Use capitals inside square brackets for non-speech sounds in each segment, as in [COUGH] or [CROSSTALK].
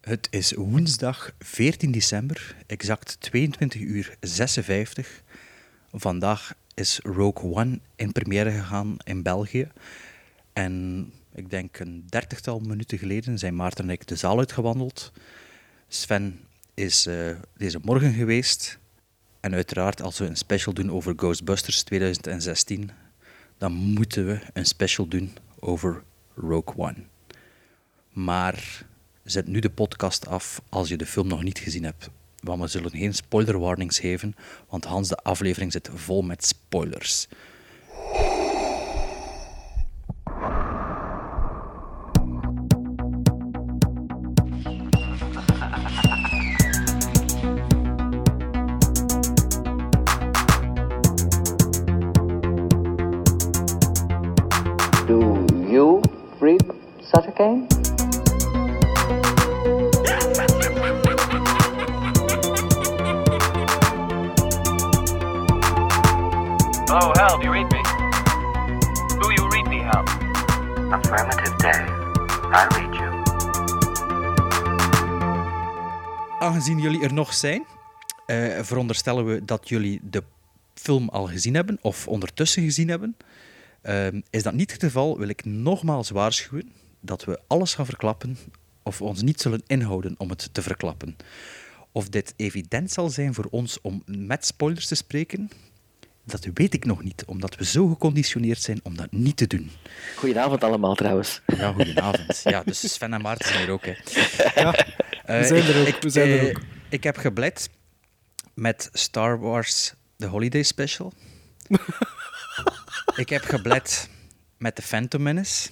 Het is woensdag 14 december, exact 22 uur 56. Vandaag is Rogue One in première gegaan in België. En ik denk een dertigtal minuten geleden zijn Maarten en ik de zaal uitgewandeld. Sven is eh, deze morgen geweest. En uiteraard, als we een special doen over Ghostbusters 2016, dan moeten we een special doen over Rogue One. Maar zet nu de podcast af als je de film nog niet gezien hebt. Want we zullen geen spoiler warnings geven, want Hans, de aflevering zit vol met spoilers. Do you read such a game? Oh, Hal, do you read me? Do you read me, [LAUGHS] Hal? Affirmative day. I read you. Aangezien jullie er nog zijn, eh, veronderstellen we dat jullie de film al gezien hebben of ondertussen gezien hebben. Ehm, is dat niet het geval, wil ik nogmaals waarschuwen dat we alles gaan verklappen of we ons niet zullen inhouden om het te verklappen. Of dit evident zal zijn voor ons om met spoilers te spreken, dat weet ik nog niet, omdat we zo geconditioneerd zijn om dat niet te doen. Goedenavond allemaal trouwens. Ja, goedenavond. Ja, dus Sven en Maarten zijn er ook. Hè. Ja, zijn er ook, we zijn er ook. eh, ik heb geblet met Star Wars The Holiday [LAUGHS] Special. ik heb geblet met The Phantom Menace.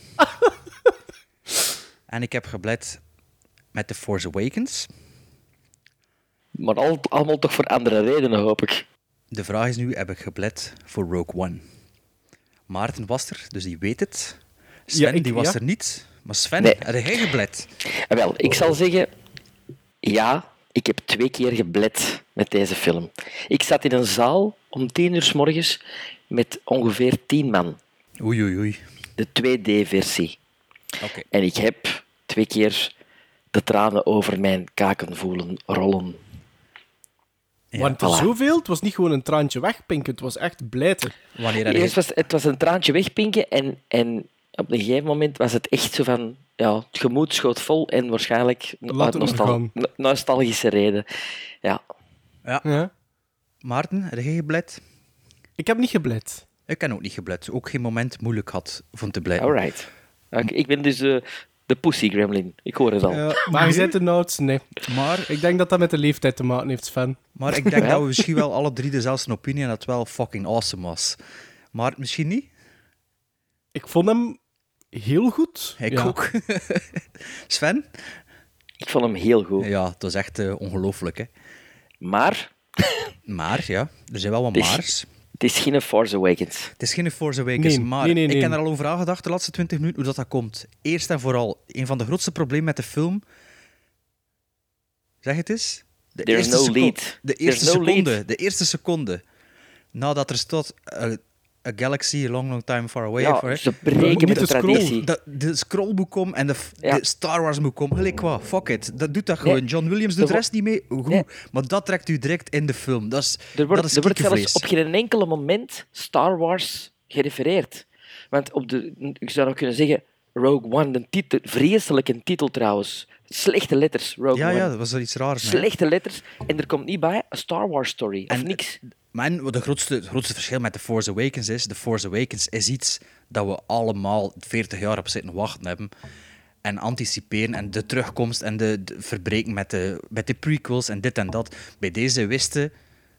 en ik heb geblet met The Force Awakens. Maar al, allemaal toch voor andere redenen, hoop ik. De vraag is nu, heb ik geblet voor Rogue One? Maarten was er, dus die weet het. Sven, ik- die was ja. er niet. Maar Sven, Nee. heb jij geblet? En Ah, wel, ik zal zeggen, ja, ik heb twee keer geblet met deze film. Ik zat in een zaal om tien uur s morgens met ongeveer tien man. Oei, oei, oei. De 2D-versie. Oké. En ik heb twee keer de tranen over mijn kaken voelen rollen. Want er voilà. zoveel, het was niet gewoon een traantje wegpinken, het was echt blijten. Wanneer er Eerst was het was een traantje wegpinken en, en op een gegeven moment was het echt zo van... Ja, het gemoed schoot vol en waarschijnlijk Laat uit het maar gaan. no- nostalgische reden. Ja, Ja. Maarten, heb jij geblet? Ik heb niet geblet. Ik kan ook niet geblet. Ook geen moment moeilijk had van te blijven. alright. Oké, ik ben dus de, de pussy gremlin. Ik hoor het al. Ja, Eh, maar je bent de oudste, nee. Maar, Ik denk dat dat met de leeftijd te maken heeft, Sven. maar ik denk dat we misschien wel alle drie dezelfde opinie en dat het wel fucking awesome was. Maar misschien niet. Ik vond hem heel goed. Ik Ja. ook. [LAUGHS] Sven? Ik vond hem heel goed. Ja, het was echt eh, ongelooflijk. Hè? Maar Maar, ja, er zijn wel wat Dus- maars. het is geen Force Awakens. Het is geen Force Awakens, Nee, maar nee, nee, ik nee. heb er al over aangedacht de laatste 20 minuten hoe dat, dat komt. Eerst en vooral, een van de grootste problemen met de film. Zeg het eens. De There's no seco- lead. De There's eerste, no seconde, lead. de eerste seconde nadat er stond eh, a, galaxy a long, long time far away. of, Ja, eh, ze Niet breken met te de scrollen. traditie. dat de scroll moet komen en de, f- Ja. de Star Wars moet komen. Gelijk qua, fuck it. Dat doet dat Nee. gewoon. John Williams doet Er de wo- rest niet mee. Goed. Nee. Maar dat trekt u direct in de film. Dat is, Er wordt, dat is er wordt zelfs kiekenvlees. op geen enkele moment Star Wars gerefereerd. Want op de, ik zou nog kunnen zeggen, Rogue One, een titel, vreselijke titel trouwens. Slechte letters, Rogue Ja, One. ja, dat was wel iets raars. hè. Slechte letters. En er komt niet bij een Star Wars story, of En- niks. Maar en wat de grootste, het grootste verschil met The Force Awakens is: The Force Awakens is iets dat we allemaal 40 jaar op zitten wachten hebben. En anticiperen en de terugkomst en de, de verbreken met de, met de prequels en dit en dat. Bij deze wisten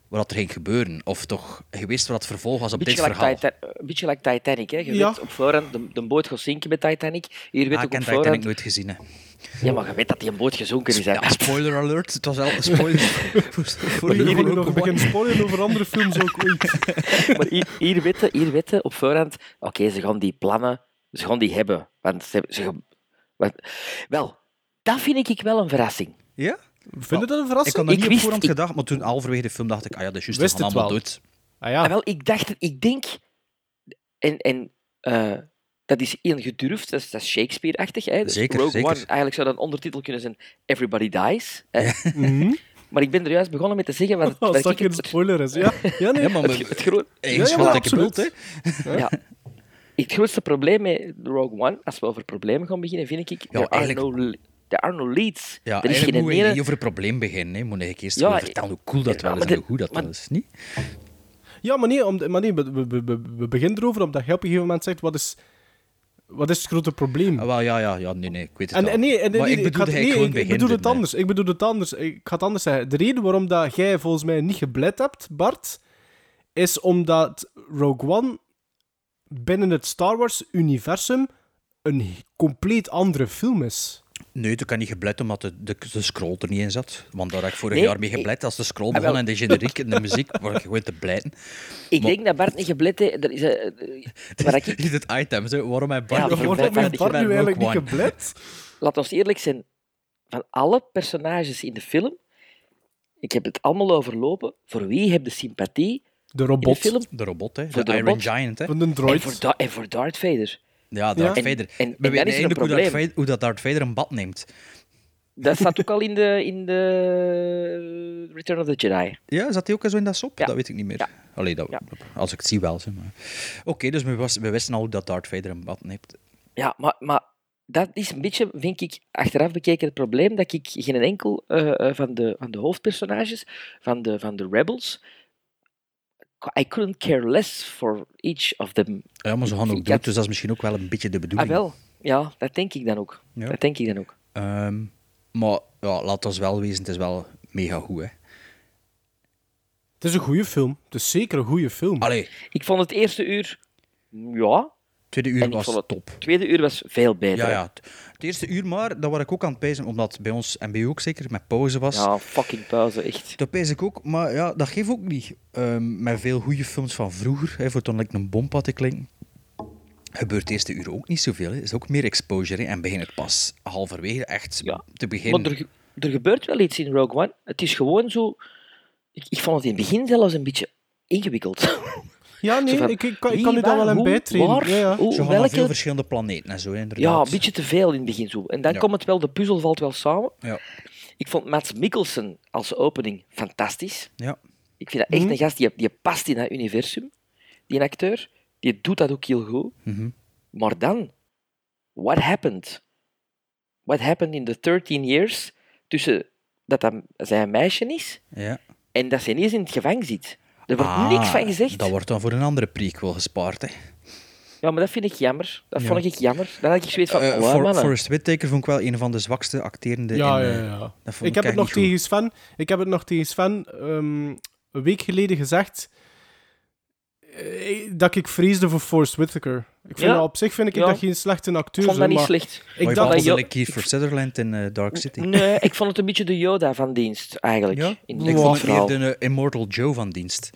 wat er ging gebeuren. Of toch, je wist wat het vervolg was op Beetje dit gelijk, verhaal. Titan- een beetje gelijk Titanic. Hè. Je Ja. weet op voorhand, de, de boot gaat zinken bij Titanic. Hier weet Ah, ik je ook op heb Titanic voorhand... nooit gezien. Hè. Ja, maar je weet dat die een boot gezonken is. hè. Ja, spoiler alert. Het was wel [LAUGHS] een spoiler. voor, voor Hier voor- kunnen we nog voor- beginnen spoilen over andere films ook [LAUGHS] ooit. [LAUGHS] maar hier, hier weten, hier weten op voorhand, oké, ze gaan die plannen, ze gaan die hebben. Want ze, ze gaan- want, wel, dat vind ik wel een verrassing. Ja? Vind je dat een Ik had verrassing? nog Ik niet op wist- voorhand ik- gedacht, maar toen halverwege de film dacht ik, ah ja, dat is juist, dat Wist gaan het allemaal wel. dood. Ah Ah, ja, wel, ik dacht, het- ik denk, en, en eh, dat is heel gedurfd, dat is, dat is Shakespeare-achtig. Hè? Dus Zeker, Rogue zeker. One, eigenlijk zou dat een ondertitel kunnen zijn Everybody Dies. Hè? [LAUGHS] Mhm. Maar ik ben er juist begonnen met te [LAUGHS] zeggen wat, Als [LAUGHS] wat dat ik geen het, spoiler [LAUGHS] is. Ja, ja nee. Ja, maar het, het gro- Eens ja, wat maar ik absoluut. bedoel, hè. ja. Het grootste probleem met Rogue One, als we over problemen gaan beginnen, vind ik, de eigenlijk- Arno, de Arno Leeds. Ja, er is eigenlijk geen moet je ene... niet over het probleem beginnen. Hè. Moet je eerst Ja, gewoon vertellen hoe cool dat ja, wel is maar en de- hoe goed dat maar- wel is, niet? Ja, maar nee, om, maar nee we, we, we, we beginnen erover omdat jij op een gegeven moment zegt, wat is, wat is het grote probleem? Ah, wel, ja, ja, ja, nee, nee, ik weet het En, al. en nee, en, maar nee, ik bedoel had- nee, gewoon ik, ik beginnen. bedoel het hè. anders. Ik bedoel het anders. Ik ga het anders zeggen. De reden waarom dat jij volgens mij niet geblet hebt, Bart, is omdat Rogue One binnen het Star Wars-universum een he- compleet andere film is. Nee, dat kan niet geblet omdat de, de, de scroll er niet in zat. Want daar had ik vorig Nee, jaar mee ik- geblet. Als de scroll Ah, begon wel. en de generiek en de muziek, [LAUGHS] word ik gewoon te blijten. Ik Maar- denk dat Bart niet geblet heeft. Er is, eh, eh, waar [LAUGHS] ik, Dit het item, zo. waarom heb Ja, Bart waarom Waarom heb ben- geblet? je ik Bart nu ben eigenlijk niet Rogue One. geblet? laat ons eerlijk zijn, van alle personages in de film, ik heb het allemaal overlopen, voor wie heb de sympathie De in de robot film? De robot, hè. De, Voor de Iron robot. Giant, hè. van de En voor, droid. Da- en voor Darth Vader. Ja, Darth Ja. Vader. En- en- We en weten dan is er een eindelijk hoe Darth, probleem. Vader, hoe dat Darth Vader een bad neemt. Dat staat ook al in de, in de Return of the Jedi. Ja, zat hij ook zo in dat sop? Ja. Dat weet ik niet meer. Ja. Allee, dat, Ja. als ik het zie wel. Zeg maar. Oké, dus we, was- we wisten al dat Darth Vader een bad neemt. Ja, maar, maar dat is een beetje, vind ik, achteraf bekeken het probleem dat ik geen enkel eh, eh, van, de, van de hoofdpersonages, van de, van de rebels, I couldn't care less for each of them. Ja, maar ze gaan ook Ik had- dood, dus dat is misschien ook wel een beetje de Ah, bedoeling. wel. Ja, dat denk ik dan ook. Ja. Dat denk ik dan ook. Ehm, maar ja, laat ons wel wezen, het is wel mega goed, hè. Het is een goede film. Het is zeker een goede film. Allee, Ik vond het eerste uur, ja. tweede En uur ik was vond het- top. tweede uur was veel beter. Ja, hè. ja. Het- Het eerste uur maar, dat was ik ook aan het pezen, omdat bij ons en bij u ook zeker met pauze was. Ja, fucking pauze, echt. Dat pees ik ook, maar ja, dat geeft ook niet. Ehm, met veel goede films van vroeger, hè, voor toen ik een bompad te klinken, gebeurt het eerste uur ook niet zoveel. Het is ook meer exposure hè, en begin het pas halverwege echt Ja, te Maar beginnen. er, ge- er gebeurt wel iets in Rogue One. Het is gewoon zo... Ik, ik vond het in het begin zelfs een beetje ingewikkeld. Ja, nee, Zo van, ik, ik, kan- ik wie, kan u daar wel waar, een hoe, bijtrainen. waar, Ja, ja. hoe, Zo gaan er welke... veel verschillende planeten en zo, hè, ja, inderdaad. een beetje te veel in het begin zo. En dan Ja. komt het wel, de puzzel valt wel samen. Ja, Ik vond Mats Mikkelsen als opening fantastisch. ja. Ik vind dat echt Mhm. een gast die, die past in dat universum. Die acteur, die doet dat ook heel goed. Mhm. Maar dan, what happened? What happened in the 13 years tussen dat dat zij een meisje is ja. en dat ze ineens in het gevangen zit? Er wordt Ah, niks van gezegd. Dat wordt dan voor een andere prequel gespaard. Hè. Ja, maar dat vind ik jammer. Dat Ja. vond ik jammer. Dan had ik zoiets van, Eh, wow, For- mannen. Forrest Whitaker vond ik wel een van de zwakste acterende Ja, in... ja, eh, ja. dat vond Ik heb echt het nog niet goed. tegen Sven, ik heb het nog tegen Sven ehm, een week geleden gezegd eh, dat ik vreesde voor Forrest Whitaker. Ik vind Ja. dat op zich vind ik Ja. dat geen slechte acteur Ik vond dat is, niet maar slecht. ik Maar je dacht dat vond Jo- dat Kiefer Sutherland in eh, Dark City. Nee, ik vond het een beetje de Yoda van dienst, eigenlijk. Ja? In Ik dit vond het verhaal. meer de eh, Immortal Joe van dienst.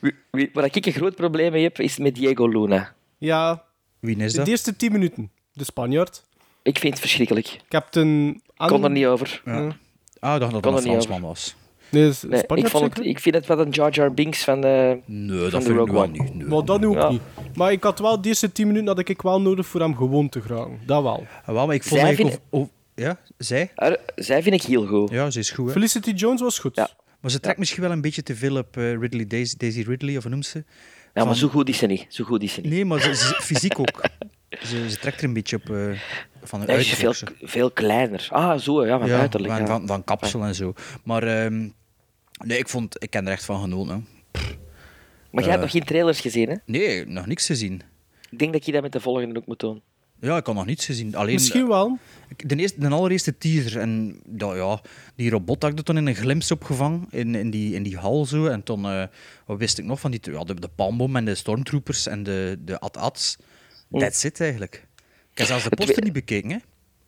Wie- wie- Waar ik een groot probleem mee heb, is met Diego Luna. ja, Wie is de dat? eerste 10 minuten, de Spanjaard. Ik vind het verschrikkelijk. Captain Ik An... kon er niet over. Ja. Ah, ik dacht dat Kon dat een er niet Fransman was. Nee, dat is Nee, ik, Spanjaard vond het, zeker? ik vind het wat een Jar Jar Binks van... eh, Nee, de dat vind ik Rogue wel One. niet. Nee. Maar dat nu ook Ja. niet. Maar ik had wel de eerste 10 minuten had ik wel nodig voor hem gewoon te geraken. Dat wel. Ah, wel, maar ik vond Zij eigenlijk... of- of- ja, zij? haar- zij vind ik heel goed. Ja, ze is goed, hè. Felicity Jones was goed. Ja. Maar ze trekt misschien wel een beetje te veel op eh, Ridley, Daisy, Daisy Ridley, of hoe noemt ze? Ja, maar Van- zo goed is ze niet. Zo goed is ze niet. Nee, maar ze, ze- fysiek ook. [LAUGHS] Ze, ze trekt er een beetje op eh, van de Hij is veel, uiterlijk. zo. veel kleiner. Ah, zo, ja, van Ja, uiterlijk. van, ja. van, van kapsel en zo. Maar ehm, nee, ik, vond, ik ken er echt van genoten. hè. Maar jij hebt nog geen trailers gezien, hè? Nee, nog niks gezien. Ik denk dat je dat met de volgende ook moet doen. Ja, ik had nog niets gezien. Alleen, Misschien wel. Ik- De, eerste, de allereerste teaser. En dat, ja, die robot had ik er toen in een glimps opgevangen. In, in, die, in die hal zo. En toen, eh, wat wist ik nog van die... Ja, de, de palmbom en de stormtroopers en de, de at-ats. Oh. That's it eigenlijk. Ik heb zelfs de poster tweede- niet bekeken. Hè.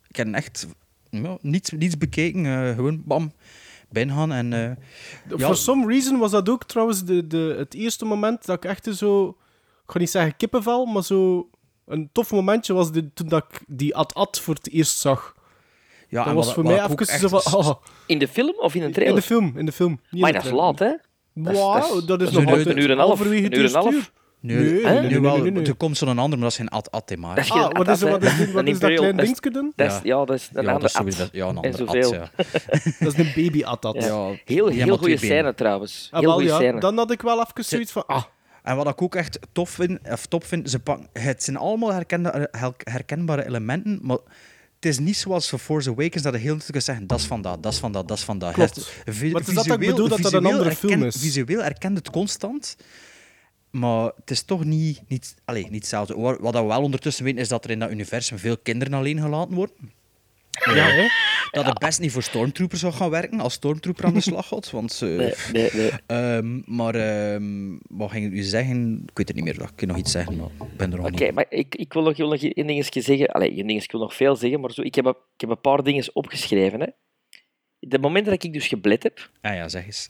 Ik heb echt ja, niets, niets bekeken. eh, gewoon bam, binnengaan. En, eh, ja, For some reason was dat ook trouwens de, de, het eerste moment dat ik echt zo... Ik ga niet zeggen kippenvel, maar zo... Een tof momentje was dit, toen dat ik die ad-ad voor het eerst zag. Ah, ja, Dat en was wat- voor wat mij ik ook even zo echt van... oh, In de film of in een in de trailer? film, in de film. niet in Maar de dat is trailer. laat, hè? Dat is- Wauw, dat is- dat is dat is nog een uur- altijd een uur en een half, halverwege een het uur en een eerste half. uur. Nu, Nee, nu, nee, nee, nee, wel, nee, nee. er komt zo'n ander, maar dat is geen ad ad maar. Dat is Ah, wat is, dat, wat is, hè? wat Een is dat imperial- klein dat is- dingetje dan? Dat is, ja, dat is een ja, dat andere is sowieso, ad. ja, een En ander ad, zoveel. ja. Dat is een baby at dat. Ja. Ja, Heel, die heel hebben goede twee benen. scène trouwens. Ah, Heel wel, goede ja, scène. Dan had ik wel even zoiets van, ah, En wat ik ook echt tof vind, of top vind, ze pakken- het zijn allemaal herkende- her- herkenbare elementen, maar het is niet zoals voor Force Awakens dat de hele tijd kunt zeggen, dat is van dat, dat is van dat, dat is van dat. Klopt. Het vi- Maar het is dat dat ik bedoel, dat dat een visueel andere herken- film is. Visueel herkent het constant, maar het is toch niet, niet, allee, niet hetzelfde. Wa- Wat we wel ondertussen weten, is dat er in dat universum veel kinderen alleen gelaten worden. Eh, ja, hè? Dat het best niet voor stormtroopers zou gaan werken, als stormtrooper aan de slag gaat, want... eh, Nee, nee, nee. Ehm, maar ehm, wat ging ik nu zeggen? Ik weet het niet meer. Ik kan nog iets zeggen, maar ik ben er nog Oké, niet. maar ik, ik wil nog, ik wil nog één dingetje zeggen. Allee, één dingetje, ik wil nog veel zeggen, maar zo, ik, heb, een- ik heb een paar dingen opgeschreven. Hè. De moment dat ik dus geblet heb, Ah ja, zeg eens.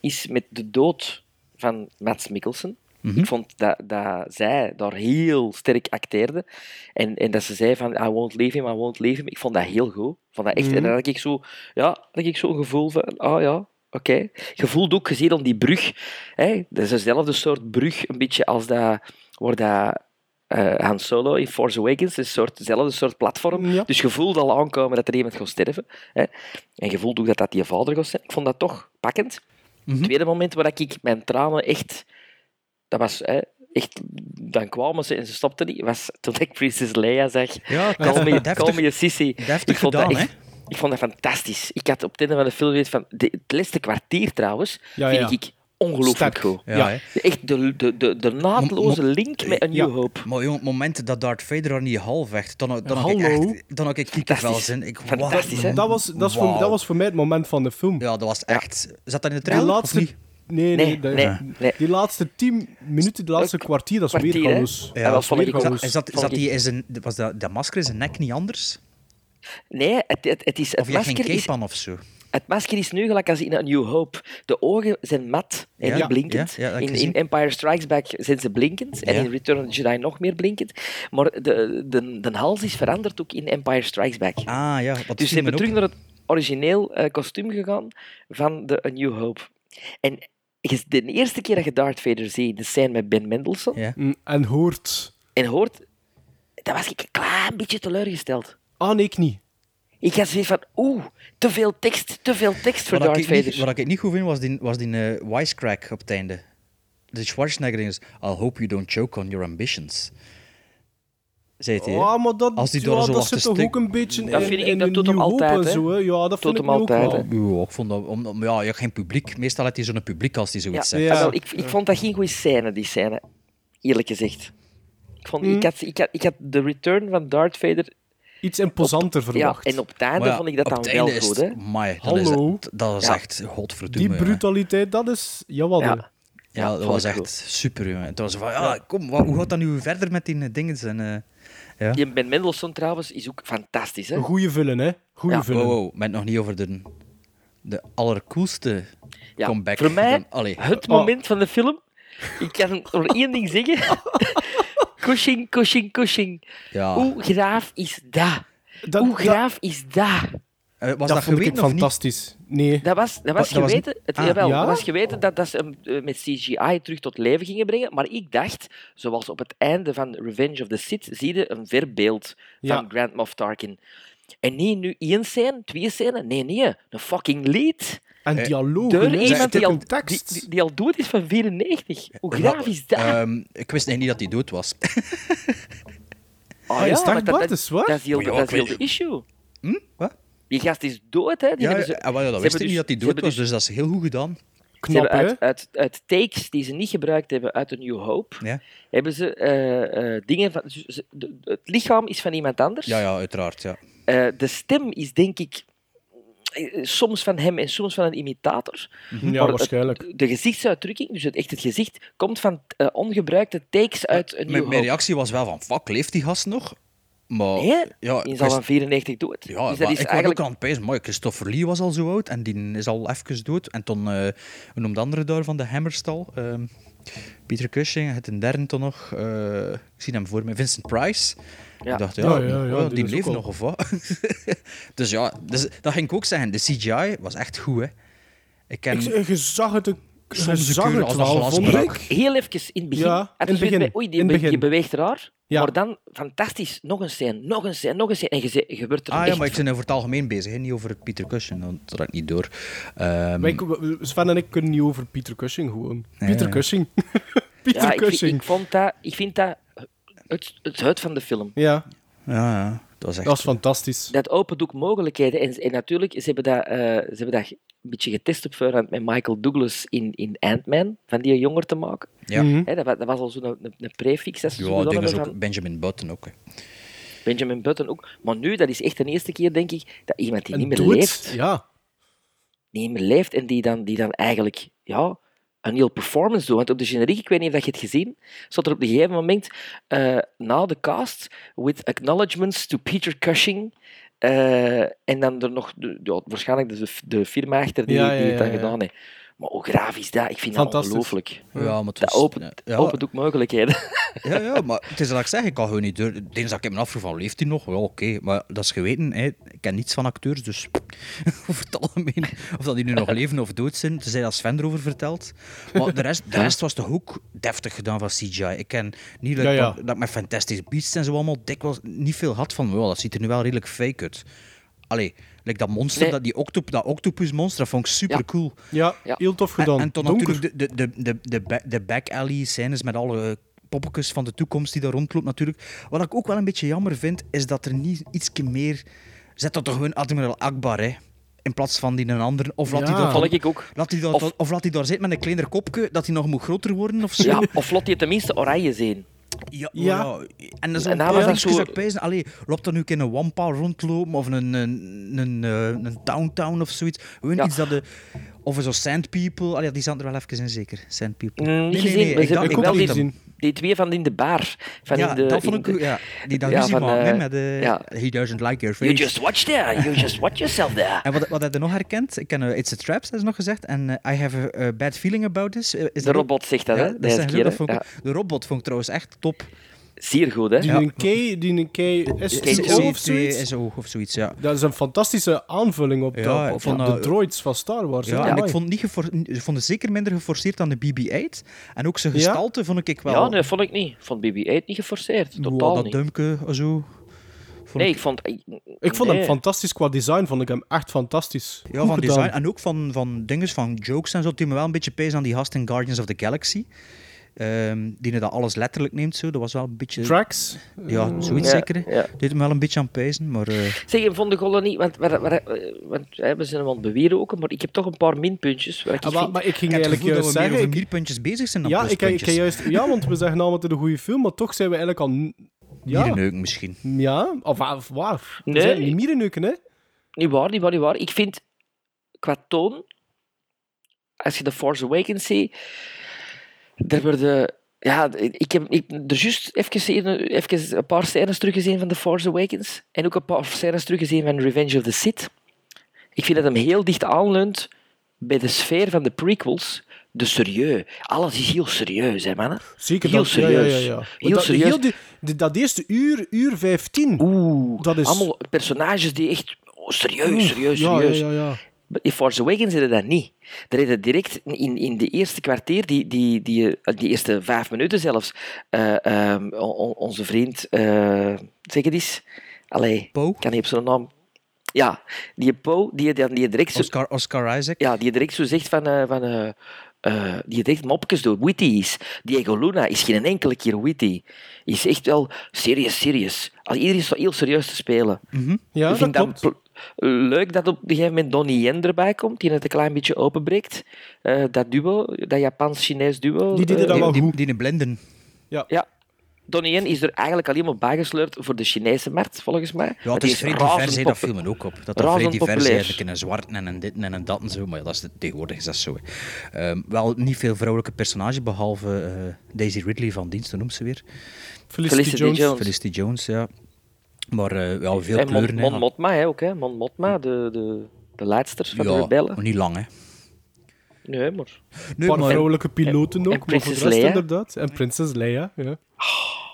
is met de dood van Mats Mikkelsen. Ik vond dat, dat zij daar heel sterk acteerde. En, en dat ze zei van, I won't leave him, I won't leave him. Ik vond dat heel goed. Ik Vond dat echt, En dan had ik zo, ja, had ik zo'n gevoel van, ah ja, oké. Je voelt ook, je ziet om die brug, hè, dat is dezelfde soort brug, een beetje als dat, waar dat eh, Han Solo in Force Awakens, een soort, dezelfde soort platform. Ja. Dus je voelt al aankomen dat er iemand gaat sterven. Hè. En je voelt ook dat dat die vader gaat zijn. Ik vond dat toch pakkend. Het tweede moment waar ik mijn tranen echt... Dat was hè, echt... Dan kwamen ze en ze stopten niet. was toen ik Princess Leia zag. Ja, Call me, deftig. call me a sissy. deftig dat gedaan, echt- Ik vond dat fantastisch. Ik had op het einde van de film zoiets van... De, het laatste kwartier trouwens, Ja, vind ja. ik ongelooflijk Sterk. goed. Ja, Ja. hè. Echt de, de, de, de naadloze link met A New Ja. Hope. Maar jong, het moment dat Darth Vader er niet half vecht, dan, dan, had ik Hallo. echt, dan had ik kiekers wel Fantastisch. zin. Ik, wat Fantastisch, een- hè? dat, was, dat, is voor, Wauw. dat was voor mij het moment van de film. Ja, dat was echt... Zat dat in de Die trailer, of laatste... niet? Nee, nee, Nee, de- nee, nee. Die laatste tien minuten, de laatste kwartier, dat is Kwartier, weer hè? alles. Ja, dat vond ik Weer Is ook. dat, chaos. is dat, is Vond dat ik- die in zijn- was dat, dat masker in zijn nek niet anders? Nee, het, het, het is... Of Het je had geen masker is cape aan of zo? Het masker is nu gelijk als in A New Hope. De ogen zijn mat en Ja, blinkend. ja, ja, dat heb ik in, in gezien. Empire Strikes Back zijn ze blinkend. En Ja. in Return of the Jedi nog meer blinkend. Maar de, de, de hals is veranderd ook in Empire Strikes Back. Ah ja, dat dus ze viel me hebben op. terug naar het origineel eh, kostuum gegaan van de A New Hope. En je- de eerste keer dat je Darth Vader ziet, de scène met Ben Mendelssohn, Ja. Mm, En hoort... en hoort, dan was ik een klein beetje teleurgesteld. Ah, nee, ik niet. Ik had zoiets van, oeh, te veel tekst, te veel tekst voor Wat ik Darth niet- Vader. wat ik niet goed vind, was die, was die eh, wisecrack op het einde. De Schwarzenegger is, I'll hope you don't choke on your ambitions. Zei het hij, hè? Ja, Ah, maar dat, Als die ja, door zo dat lastig zit toch stuk- ook een beetje Dat in, vind ik- in dat een doet hem nieuw hoop altijd, en hè. zo. Hè. Ja, dat Doet vind ik hem nu ook altijd, wel. hè. Ja, ik vond dat... om- om- ja, je hebt geen publiek. Meestal had hij zo'n publiek als hij zoiets Ja, zegt. Ja. ah, wel, ik, ik vond dat geen goede scène, die scène. Eerlijk gezegd. Ik, vond, Hmm. ik, had, ik, had, ik had de return van Darth Vader... Iets imposanter verwacht. Ja, en op het einde Maar ja, vond ik dat op dan het wel einde is goed. het- Hè? Amai, dan is dat- Hallo. dat, is Ja. echt... Godverdomme. Die jongen. brutaliteit, dat is... Jawel. Ja. hè. Ja, dat vond was ik echt goed. super, jongen. En toen was het van, ja, kom, wat, hoe gaat dat nu verder met die eh, dingen? En, eh, ja. Die Ben Mendelssohn trouwens is ook fantastisch. Hè? Een goede vullen, hè. Goeie Ja. vullen. Wow, wow, met nog niet over de, de allercoolste Ja, comeback. Voor mij, Dan- allee. eh, het Oh. moment van de film... Ik kan [LAUGHS] nog één ding zeggen. [LAUGHS] Cushing, Cushing, Cushing. Ja. Hoe graaf is dat? Dat- Hoe dat- graaf is dat? Eh, was dat, Dat vond ik geweten of niet? fantastisch. Nee. Dat was, dat was dat was geweten, het, ah, jawel, ja? dat was geweten dat, dat ze hem eh, met CGI terug tot leven gingen brengen. Maar ik dacht, zoals op het einde van Revenge of the Sith, zie je een verbeeld Ja. van Grand Moff Tarkin. En niet nu één scène, twee scènes. Nee, nee. Een fucking lead. En Eh, dialoog. Door iemand die al, die, tekst. die, die al dood is van 94. Hoe graaf is dat? Ehm, ik wist nog niet dat hij dood was. [LAUGHS] Ah, hij is maar Dag Bart, is waar? dat is heel Maar ja, dat is ik heel weet- de issue. Hm? Wat? Die gast is dood, hè. Die Ja, hebben ja, ze, ah, wel, ja, dat ze wist hebben ik dus- niet dat hij ze dood hebben was, dus dat is heel goed gedaan. Ze Knap, hebben hè. uit, uit, uit takes die ze niet gebruikt hebben uit een New Hope, Ja. hebben ze eh, eh, dingen van... ze- ze- de- de- het lichaam is van iemand anders. Ja, ja, uiteraard. Ja. Eh, de stem is, denk ik, eh, soms van hem en soms van een imitator. Mhm. Maar Ja, het- waarschijnlijk. de gezichtsuitdrukking, dus het, echt het gezicht, komt van eh, ongebruikte takes uit een Mijn, New mijn Hope. reactie was wel van, fuck, leeft die gast nog? Maar, Nee, ja, in ik zal wist- van 94 dood. ja, dus maar dat is ik eigenlijk... was ook aan het pijzen, maar Christopher Lee was al zo oud en die is al even dood. En toen, eh hoe noemt de andere daar van de Hammerstal? Ehm Peter Cushing, het een derde toen nog. eh, ik zie hem voor me, Vincent Price. Ja. Ik dacht, ja, Ja, ja, ja, oh, die die is leeft ook nog of wat? [LAUGHS] dus ja, dus, dat ging ik ook zeggen. De CGI was echt goed, hè. Ik ken... Ik, je zag het een, soms zag een keur het als dat wel, glas vond brak. ik. Heel even in het begin. Ja, in had het je zoiets begin. bij, Oei, In die, het be- die begin. beweegt raar. Ja. Maar dan, fantastisch, nog een scène, nog een scène, nog een scène. En je, ze- je wordt er Ah ja, echt maar ik ben over het algemeen bezig, hè, niet over het Peter Cushion, want dat raakt niet door. Ehm, Maar ik- we- Sven en ik kunnen niet over Pieter Cushing gewoon. Nee, Pieter ja. Cushing. [LAUGHS] Pieter ja, ik, vind- Cushing. ik, vond dat, ik vind dat het, het huid van de film. Ja, ja, ja, dat is echt... dat was fantastisch. Dat opent ook mogelijkheden. En, en natuurlijk, ze hebben dat, eh, ze hebben dat een beetje getest op voorhand met Michael Douglas in, in Ant-Man, van die jonger te maken. Ja, Mhm. Hè, dat, wa- dat was al zo'n een, een prefix. Dat ze zo ja ik gedaan denk dat hebben is van- ook Benjamin Button ook. hè. Benjamin Button ook. Maar nu, dat is echt de eerste keer, denk ik, dat iemand die En niet meer doe het. leeft, Ja. die niet meer leeft en die dan, die dan eigenlijk ja, een heel performance doet. Want op de generiek, ik weet niet of dat je het gezien, stond er op een gegeven moment eh, na de cast, with acknowledgements to Peter Cushing, eh, en dan er nog, de- ja, waarschijnlijk de, de firma achter die, Ja, ja, die het dan ja, ja. gedaan heeft. Maar hoe graaf is dat? Ik vind dat Fantastisch. ongelooflijk. Ja, maar het Dat was- opent, ja, opent ook mogelijkheden. [LAUGHS] Ja, ja, maar het is dat ik zeg, ik kan gewoon niet door. Dinsdag heb ik me afgevraagd, van, leeft hij nog? Ja, oké, maar dat is geweten. Hè. Ik ken niets van acteurs, dus [LAUGHS] over het algemeen, of dat die nu nog leven of dood zijn, tenzij dat Sven erover vertelt. Maar de rest, de rest was toch ook deftig gedaan van CGI. Ik ken niet dat, Ja, ik ja. dat, dat ik met Fantastic Beasts en zo allemaal dikwijls niet veel had van, wow, dat ziet er nu wel redelijk fake uit. Allee, like dat monster, Nee. dat, die octop, dat octopusmonster, dat vond ik super cool. Ja, Ja. heel tof En- gedaan. En toen Donker. natuurlijk de, de, de, de, de, ba- de back alley scènes met alle poppetjes van de toekomst die daar rondloopt natuurlijk. Wat ik ook wel een beetje jammer vind, is dat er niet ietsje meer... Zet dat toch gewoon Admiral Akbar, hè? In plaats van die een ander. Of laat Ja. hij dat... Volg ik ook. Laat hij dat, Of- of, laat hij daar zitten met een kleiner kopje, dat hij nog moet groter worden of zo. [LAUGHS] Ja, of laat je tenminste oranje zien. Ja, oh Ja. ja. En dat is En ook daar was ja, dat niks zo- gezegd bij. Allee, loopt dan nu ook in een Wampa rondlopen of een, een, een, eh, een Downtown of zoiets. Gewoon Ja. iets dat de... Of zo Sand People. Allee, die zijn er wel even in, zeker. Sand People. Mm, niet gezien. maar Ik ze- dacht, ik ik ook wel dacht niet die, dat- gezien. die twee van in de bar. Van Ja, in de, dat vond in ik... de- ook- Ja, die dan eh, Ja, ruzie van, maken, hè, eh, met de... ja. He doesn't like your You face. just watch there. You just watch yourself there. [LAUGHS] En wat, wat heb je nog herkend? Ik ken eh, It's a Trap, dat is nog gezegd. En eh, I have a, eh, bad feeling about this. Eh, is De dat ook- robot zegt dat, Ja, hè? dat Deze zijn ze keer, ook, dat hè. vond ik Ja. ook- De robot vond ik trouwens echt top. Zeer goed, hè? Die Ja. een K, die een K, S2O of zoiets. CTSO of zoiets, ja. Dat is een fantastische aanvulling op, de- Ja, op ik vond de dat- droids van Star Wars. hè. Ja, en Amai. ik vond, niet gefor- ik vond het zeker minder geforceerd dan de BB-8. En ook zijn Ja? gestalte vond ik wel... Ja, nee, vond ik niet. Vond BB-8 niet geforceerd. Wow, Totaal dat niet. duimpje, zo. Vond Nee, ik- ik vond... Ik, Ik vond hem nee. fantastisch qua design, vond ik hem echt fantastisch. Ja, Goed van gedaan. design. En ook van, van dinges, van jokes en zo. Die me wel een beetje pees aan die gast in Guardians of the Galaxy. Ehm, die dat alles letterlijk neemt, zo. Dat was wel een beetje... Tracks. ja, zoiets Ja, zeker. hè. ja. Deed hem wel een beetje aan pezen, maar... eh, Zeg, en vond de gollen niet... Want, waar- waar- eh, want hè, we zijn hem aan het beweren ook, maar ik heb toch een paar minpuntjes. Waar ik Ah, maar, vind- maar ik ging ik heb het eigenlijk gevoel dat juist we meer zeggen... over ik- mierpuntjes bezig zijn dan ja, ik, ik, pluspuntjes. ging juist, ja, want we zeggen allemaal dat het een goede film, maar toch zijn we eigenlijk al... n- Ja, Mierenneuken misschien. ja of, of waar? We Nee. zijn niet mierenneuken, hè? Niet waar, niet waar, niet waar. Ik vind, qua toon, als je The Force Awakens ziet, er worden... Ja, ik heb ik, er juist even, even een paar scènes teruggezien van The Force Awakens en ook een paar scènes teruggezien van Revenge of the Sith. Ik vind dat hem heel dicht aanleunt bij de sfeer van de prequels. De serieus. Alles is heel serieus, hè, mannen? Zeker. Heel dat, ja, ja, ja, serieus. ja. Want Heel dat, serieus. heel die- die- dat eerste uur, uur 15. Oeh, Dat is- allemaal personages die echt... oh, serieus, serieus, ja, serieus. Ja, ja, ja. In Force Awakens deden dat niet. Er deden direct in, in de eerste kwartier, die, die, die, eh, die eerste vijf minuten zelfs, eh, ehm, on- on- onze vriend, eh, zeg het eens, allee, Poe? ik kan niet op zijn naam. Ja, die Poe, die, die, die, direct zo, Oscar, Oscar Isaac. ja, die direct zo zegt van... eh, van eh, eh, die direct mopjes doet. Witty is. Diego Luna is geen enkele keer witty. Is echt wel serious, serious. Al- Iedereen is zo heel serieus te spelen. Mhm. Ja, Ik dat vind klopt. dat pl- leuk dat op een gegeven moment Donnie Yen erbij komt, die het een klein beetje openbreekt. Eh, dat duo, dat Japans-Chinees duo. Die deden eh, dat wel die, die, goed. die in Blinden. Ja. Donnie Yen is er eigenlijk alleen maar bijgesleurd voor de Chinese markt, volgens mij. Ja, het is vrij divers, hè, dat viel me ook op. Dat dat vrij razend divers is, populair. eigenlijk in een zwart en een dit en een dat en zo. Maar ja, dat is, tegenwoordig is dat zo. hè. Ehm, wel niet veel vrouwelijke personages, behalve eh, Daisy Ridley van dienst, hoe noemt ze weer. Felicity, Felicity Jones. Jones. Felicity Jones, ja. Maar eh, ja, veel En Mon, kleuren. hè. Mon Motma hè, ook, hè. Mon Motma, de, de, de leidster van de ja, rebellen. maar niet lang, hè. Nee, maar... Nee, Een paar maar vrouwelijke piloten ook, maar voor Prinses de rest Leia. Ah, inderdaad. En Prinses Leia, ja.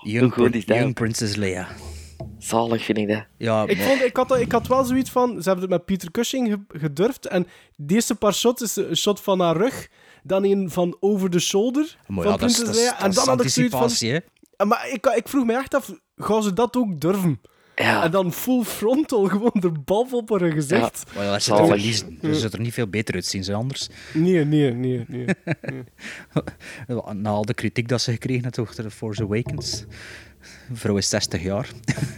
young, Hoe goed Prin- is dat? young Princess Leia. Zalig vind ik dat. Ja, Ik, maar- vond, ik, had, dat- ik had wel zoiets van, ze hebben het met Peter Cushing ge- gedurfd en deze paar shots is een shot van haar rug dan een van Over the Shoulder. Maar van ja, dat is, Princess dat is- Leia. dat en is dan had ik zoiets van... anticipatie, hè. Ah, Maar ik, ik vroeg me echt af, gaan ze dat ook durven? Ja. En dan full frontal, gewoon de bal op haar gezicht. Maar ja, dat zit er Zalig. verliezen. Dus het er niet veel beter uitzien, ze anders. Nee, nee, nee, nee. [LAUGHS] Na al de kritiek dat ze gekregen had over The Force Awakens. Vrouw is 60 jaar.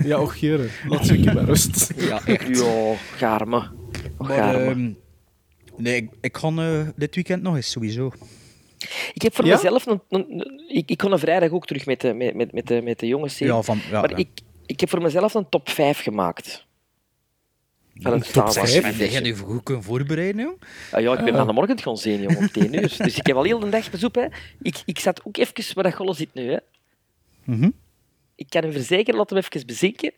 Ja, och jere, laat ze een keer bij rust. Ja, [LAUGHS] Ja, garme. [LAUGHS] Maar, Garme. ehm, nee, ik, ik ga eh, dit weekend nog eens, sowieso. Ik heb voor Ja? mezelf... Een, een- een- ik, ik kon een vrijdag ook terug met de, met, met, met de, met de jongens zien. Ja, van, ja, maar ja. Ik, ik heb voor mezelf een top 5 gemaakt. Van het Star Wars. En jij hebt je goed kunnen voorbereiden, joh. Ah, ja, ik ben aan de morgen gaan zien, jongen, om 10 uur. Dus ik heb al heel de dag bezoek. Hè. Ik, ik zat ook even waar dat gollen zit nu. Hè. Mhm. Ik kan hem verzekeren, laat hem even bezinken.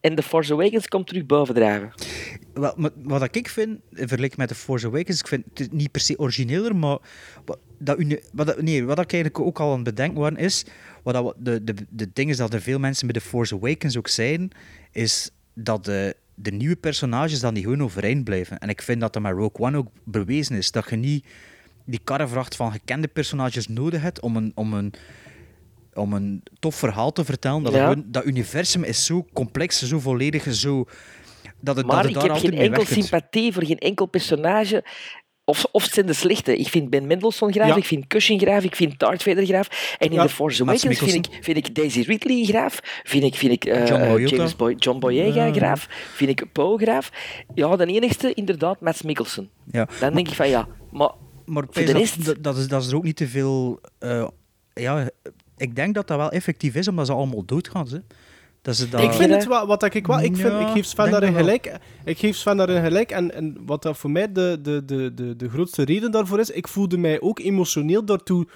En The Force Awakens komt terug bovendrijven. Wel, maar wat ik vind, in vergelijking met The Force Awakens, ik vind het niet per se origineler, maar wat, dat, uni- wat, dat- nee, wat ik eigenlijk ook al aan het bedenken was, is, wat dat, we- de, de, de ding is dat er veel mensen bij The Force Awakens ook zijn, is dat de, de nieuwe personages dan die gewoon overeind blijven. En ik vind dat dat met Rogue One ook bewezen is, dat je niet die karrevracht van gekende personages nodig hebt om een... Om een om een tof verhaal te vertellen. Dat, Ja. gewoon- dat universum is zo complex, zo volledig, en zo... Dat het, dat Maar het ik daar heb altijd geen mee enkel weg kunt. sympathie voor geen enkel personage. Of, of het zijn de slechte. Ik vind Ben Mendelssohn graaf, Ja. ik vind Cushing graaf, ik vind Darth Vader graaf. En in Ja, The Force Mads Awakens vind Mikkelsen. ik, vind ik Daisy Ridley graaf, vind ik, vind ik eh, John Boyega. James Boy, John Boyega graaf, vind ik Poe graaf. Ja, de enigste inderdaad Mads Mikkelsen. Ja. Dan denk ik van ja, maar Maar de pijs dat- rest- dat, dat, is, dat is er ook niet te veel. eh, ja, ik denk dat dat wel effectief is, omdat ze allemaal doodgaan. Hè. Dat ze dat... Ik vind Ja. het wel, wat ik wel, ik, vind, ik Ja, geef Sven denk daarin dat wel. gelijk. Ik geef Sven daarin gelijk. En, en wat dat voor mij de, de, de, de, de grootste reden daarvoor is, ik voelde mij ook emotioneel daartoe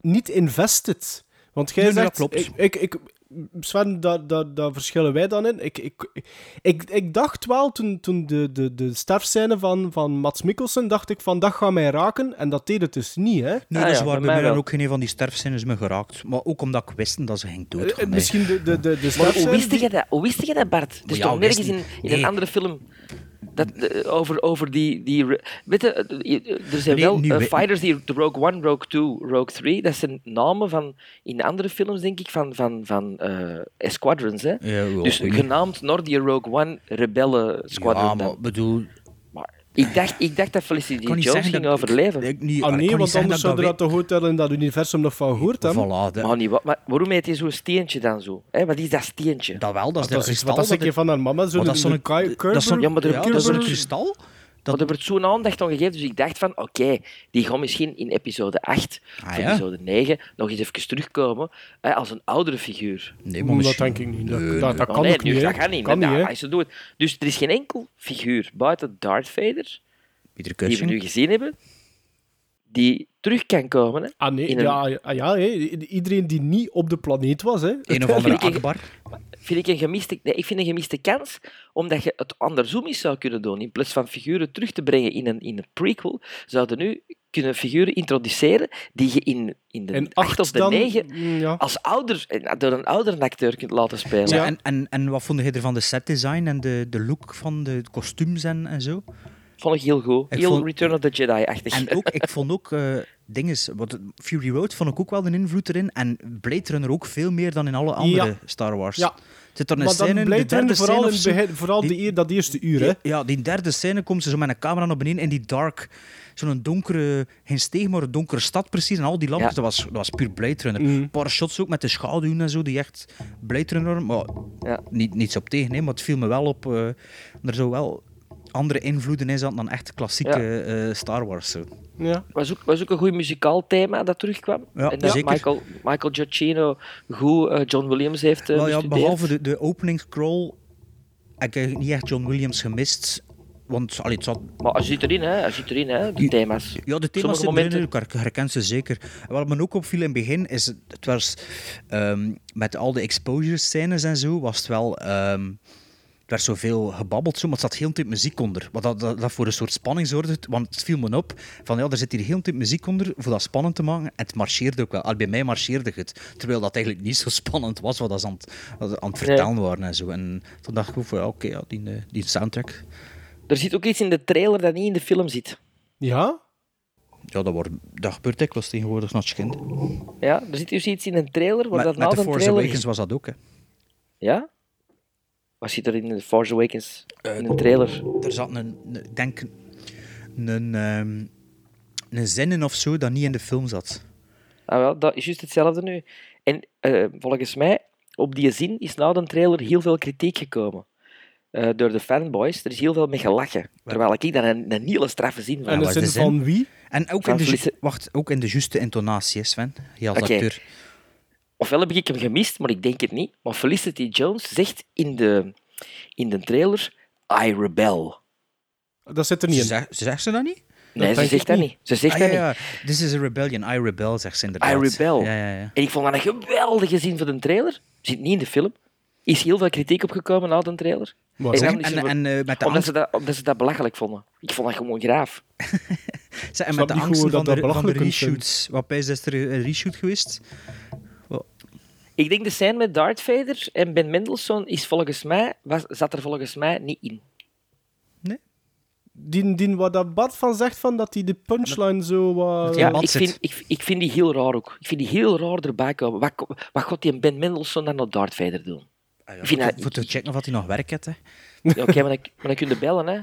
niet invested. Want jij Nee, nee, zegt, dat klopt. Ik, ik, ik, Sven, daar, daar, daar verschillen wij dan in. Ik, ik, ik, ik, dacht wel, toen, toen de, de, de sterfscène van, van Mats Mikkelsen, dacht ik van, dat gaat mij raken. En dat deed het dus niet, hè. Nee, Ah dat is waar. ja, bij Bij mij mij dan wel. ook geen een van die sterfzinnen me geraakt. Maar ook omdat ik wist dat ze ging doodgaan. Eh, hè. Misschien de, de, de, de Maar hoe sterfscène wist die- je dat? Hoe wist je dat, Bart? Het is ja, toch hoe nergens wist in, je- in Nee. een andere film dat, eh, over, over die... die re- weet je, eh, er zijn Nee, wel nu eh, we- fighters die de Rogue One, Rogue Two, Rogue Three, dat zijn namen van, in andere films, denk ik, van, van, van eh, squadrons. Hè? Ja, wel, dus ik weet genaamd Nordia Rogue One Rebelle Squadron. Ja, dan. maar bedoel, Maar ik, dacht, ik dacht dat ik Felicity kan niet Jones zeggen ging dat overleven. Ik, ik, niet, Ah ik nee, kan niet want zeggen anders dat ik zouden dat dat toch goed tellen in dat universum nog van gehoord hebben. Voilà, dat, maar, niet, wat- maar waarom heet hij zo'n steentje dan zo? Hè? Wat is dat steentje? dat wel, dat is Dat dat is iets wat als kristal. ik je van haar mama zo Maar dat de- is de zo'n- Kuy- dat is zo'n- Kuiper- Ja, maar er- Ja, dat is een Kuiper- kristal. Dat... Dat, er wordt zo'n aandacht aan gegeven, dus ik dacht van, oké, die gaan misschien in episode 8 Ah, of ja? episode 9 nog eens even terugkomen hè, als een oudere figuur. nee, maar Oeh, Dat misschien- denk ik niet. Dat, Nee, dat, dat Maar kan nee, ook nu, niet. hè. dat gaat niet. Kan hè. niet, hè. Nou, als ze doen. Dus er is geen enkel figuur buiten Darth Vader, Pieter die we Cushing. nu gezien hebben, die terug kan komen. Hè. Ah nee, in een- ja, ja, ja, hè. I- iedereen die niet op de planeet was. Hè. Een of andere [LAUGHS] Ik- ik- Akbar. Vind ik, een gemiste, nee, ik vind een gemiste kans, omdat je het andersom eens zou kunnen doen. In plaats van figuren terug te brengen in een, in een prequel, zouden nu kunnen figuren introduceren die je in, in [LAUGHS] de En 8 of acht de dan... 9 mm, Ja. als ouder, eh, door een ouder acteur kunt laten spelen. Ja. Ja. En, en, en wat vond je ervan de setdesign en de, de look van de kostuums en, en zo? Vond ik heel goed. Ik heel vond- Return of the Jedi-achtig. En ook, ik vond ook eh dinges, wat, Fury Road vond ik ook wel een invloed erin. En Blade Runner ook veel meer dan in alle andere Ja. Star Wars. Ja. Zit er een Maar scène dan in, de blijkt derde er vooral, scène in of het zo? begin, vooral die, eer- dat eerste uur. Hè. Ja, ja, die derde scène komt ze zo met een camera naar beneden in die dark, zo'n donkere, geen steeg, maar een donkere stad precies. En al die lampjes, Ja. dat, was, dat was puur Blade Runner. Een paar shots ook met de schaduwen en zo, die echt Blade Runner, maar Ja. niet, niets op tegen, hè, maar het viel me wel op. eh, er zo wel andere invloeden in zaten dan echt klassieke eh, Star Wars. Zo. Ja. was ook, was ook een goed muzikaal thema dat terugkwam. Ja, en dat zeker. Michael, Michael Giacchino goed eh, John Williams heeft eh Wel ja, bestudeerd. behalve de, de openingscrawl heb ik niet echt John Williams gemist. Want allee, het zat, Maar hij zit erin, hè. Hij zit erin, hè. De thema's. ja, de thema's Sommige zitten momenten- momenten... elkaar, ik herken ze zeker. En Wat me ook opviel in het begin is, het het was ehm, met al de exposure scènes en zo, was het wel... ehm er werd zoveel gebabbeld, zo, maar het zat heel de tijd muziek onder. Wat dat, dat, dat voor een soort spanning zorgde, want het viel me op van ja, er zit hier heel de tijd muziek onder voor dat spannend te maken. En het marcheerde ook wel. Al bij mij marcheerde het. Terwijl dat eigenlijk niet zo [LAUGHS] spannend was wat dat ze aan het, dat ze aan het vertellen waren en zo. En toen dacht ik ook van ja, oké, ja, die, eh, die soundtrack. Er zit ook iets in de trailer dat niet in de film zit. ja? Ja, dat, wordt, dat gebeurt dikwijls tegenwoordig nog kind. Ja, er zit dus iets in een trailer. Waar Met, dat met nou The een Force trailer Awakens is. was dat ook. Hè. Ja? Wat zit er in The Force Awakens? Eh, in een trailer. Er zat een, een- ik denk, een, ehm, een zin in of zo dat niet in de film zat. Ah, wel, dat is juist hetzelfde nu. En eh, volgens mij, op die zin is na de trailer heel veel kritiek gekomen. Eh, door de fanboys. Er is heel veel mee gelachen. Terwijl ik daar een, een hele straffe zin van En wat is de zin de zin? van wie? En ook Van in de, ju- Felice- wacht, ook in de juiste intonatie, hè, Sven. Ja, als Oké. acteur. ofwel heb ik hem gemist, maar ik denk het niet. Maar Felicity Jones zegt in de, in de trailer: I rebel. Dat zit er niet Ze in. zegt- ze zegt ze dat niet? Nee, ze denk zegt ik dat niet. niet. Ze zegt Ah, dat ja, niet. ja. This is a rebellion. I rebel, zegt ze inderdaad. I rebel. Ja, ja, ja. En ik vond dat een geweldige zin van de trailer. Zit niet in de film. Is heel veel kritiek opgekomen na de trailer. Maar En zeg, dan En, is en, er- en, eh, met de omdat, angst, ze dat, omdat ze dat belachelijk vonden. Ik vond dat gewoon graaf. ze- en snap met de niet angsten van, de, hoe dat dat van de belachelijk kunt zijn. reshoots. Wat bij is is er een reshoot geweest? Ik denk de scène met Darth Vader en Ben Mendelssohn is volgens mij, was, zat er volgens mij niet in. die, die, wat dat Bart van zegt, van dat hij de punchline zo... eh, wat- Ja, Ja, wat ik zit. vind, ik, ik vind die heel raar ook. Ik vind die heel raar erbij komen. Wat, ko- wat gaat die Ben Mendelssohn dan nog Darth Vader doen? Ah, ja, Ik vind voor- dat- Voor te checken of dat hij nog werk heeft. Hè. Ja, Oké, maar, dan, maar dan kun je bellen, hè.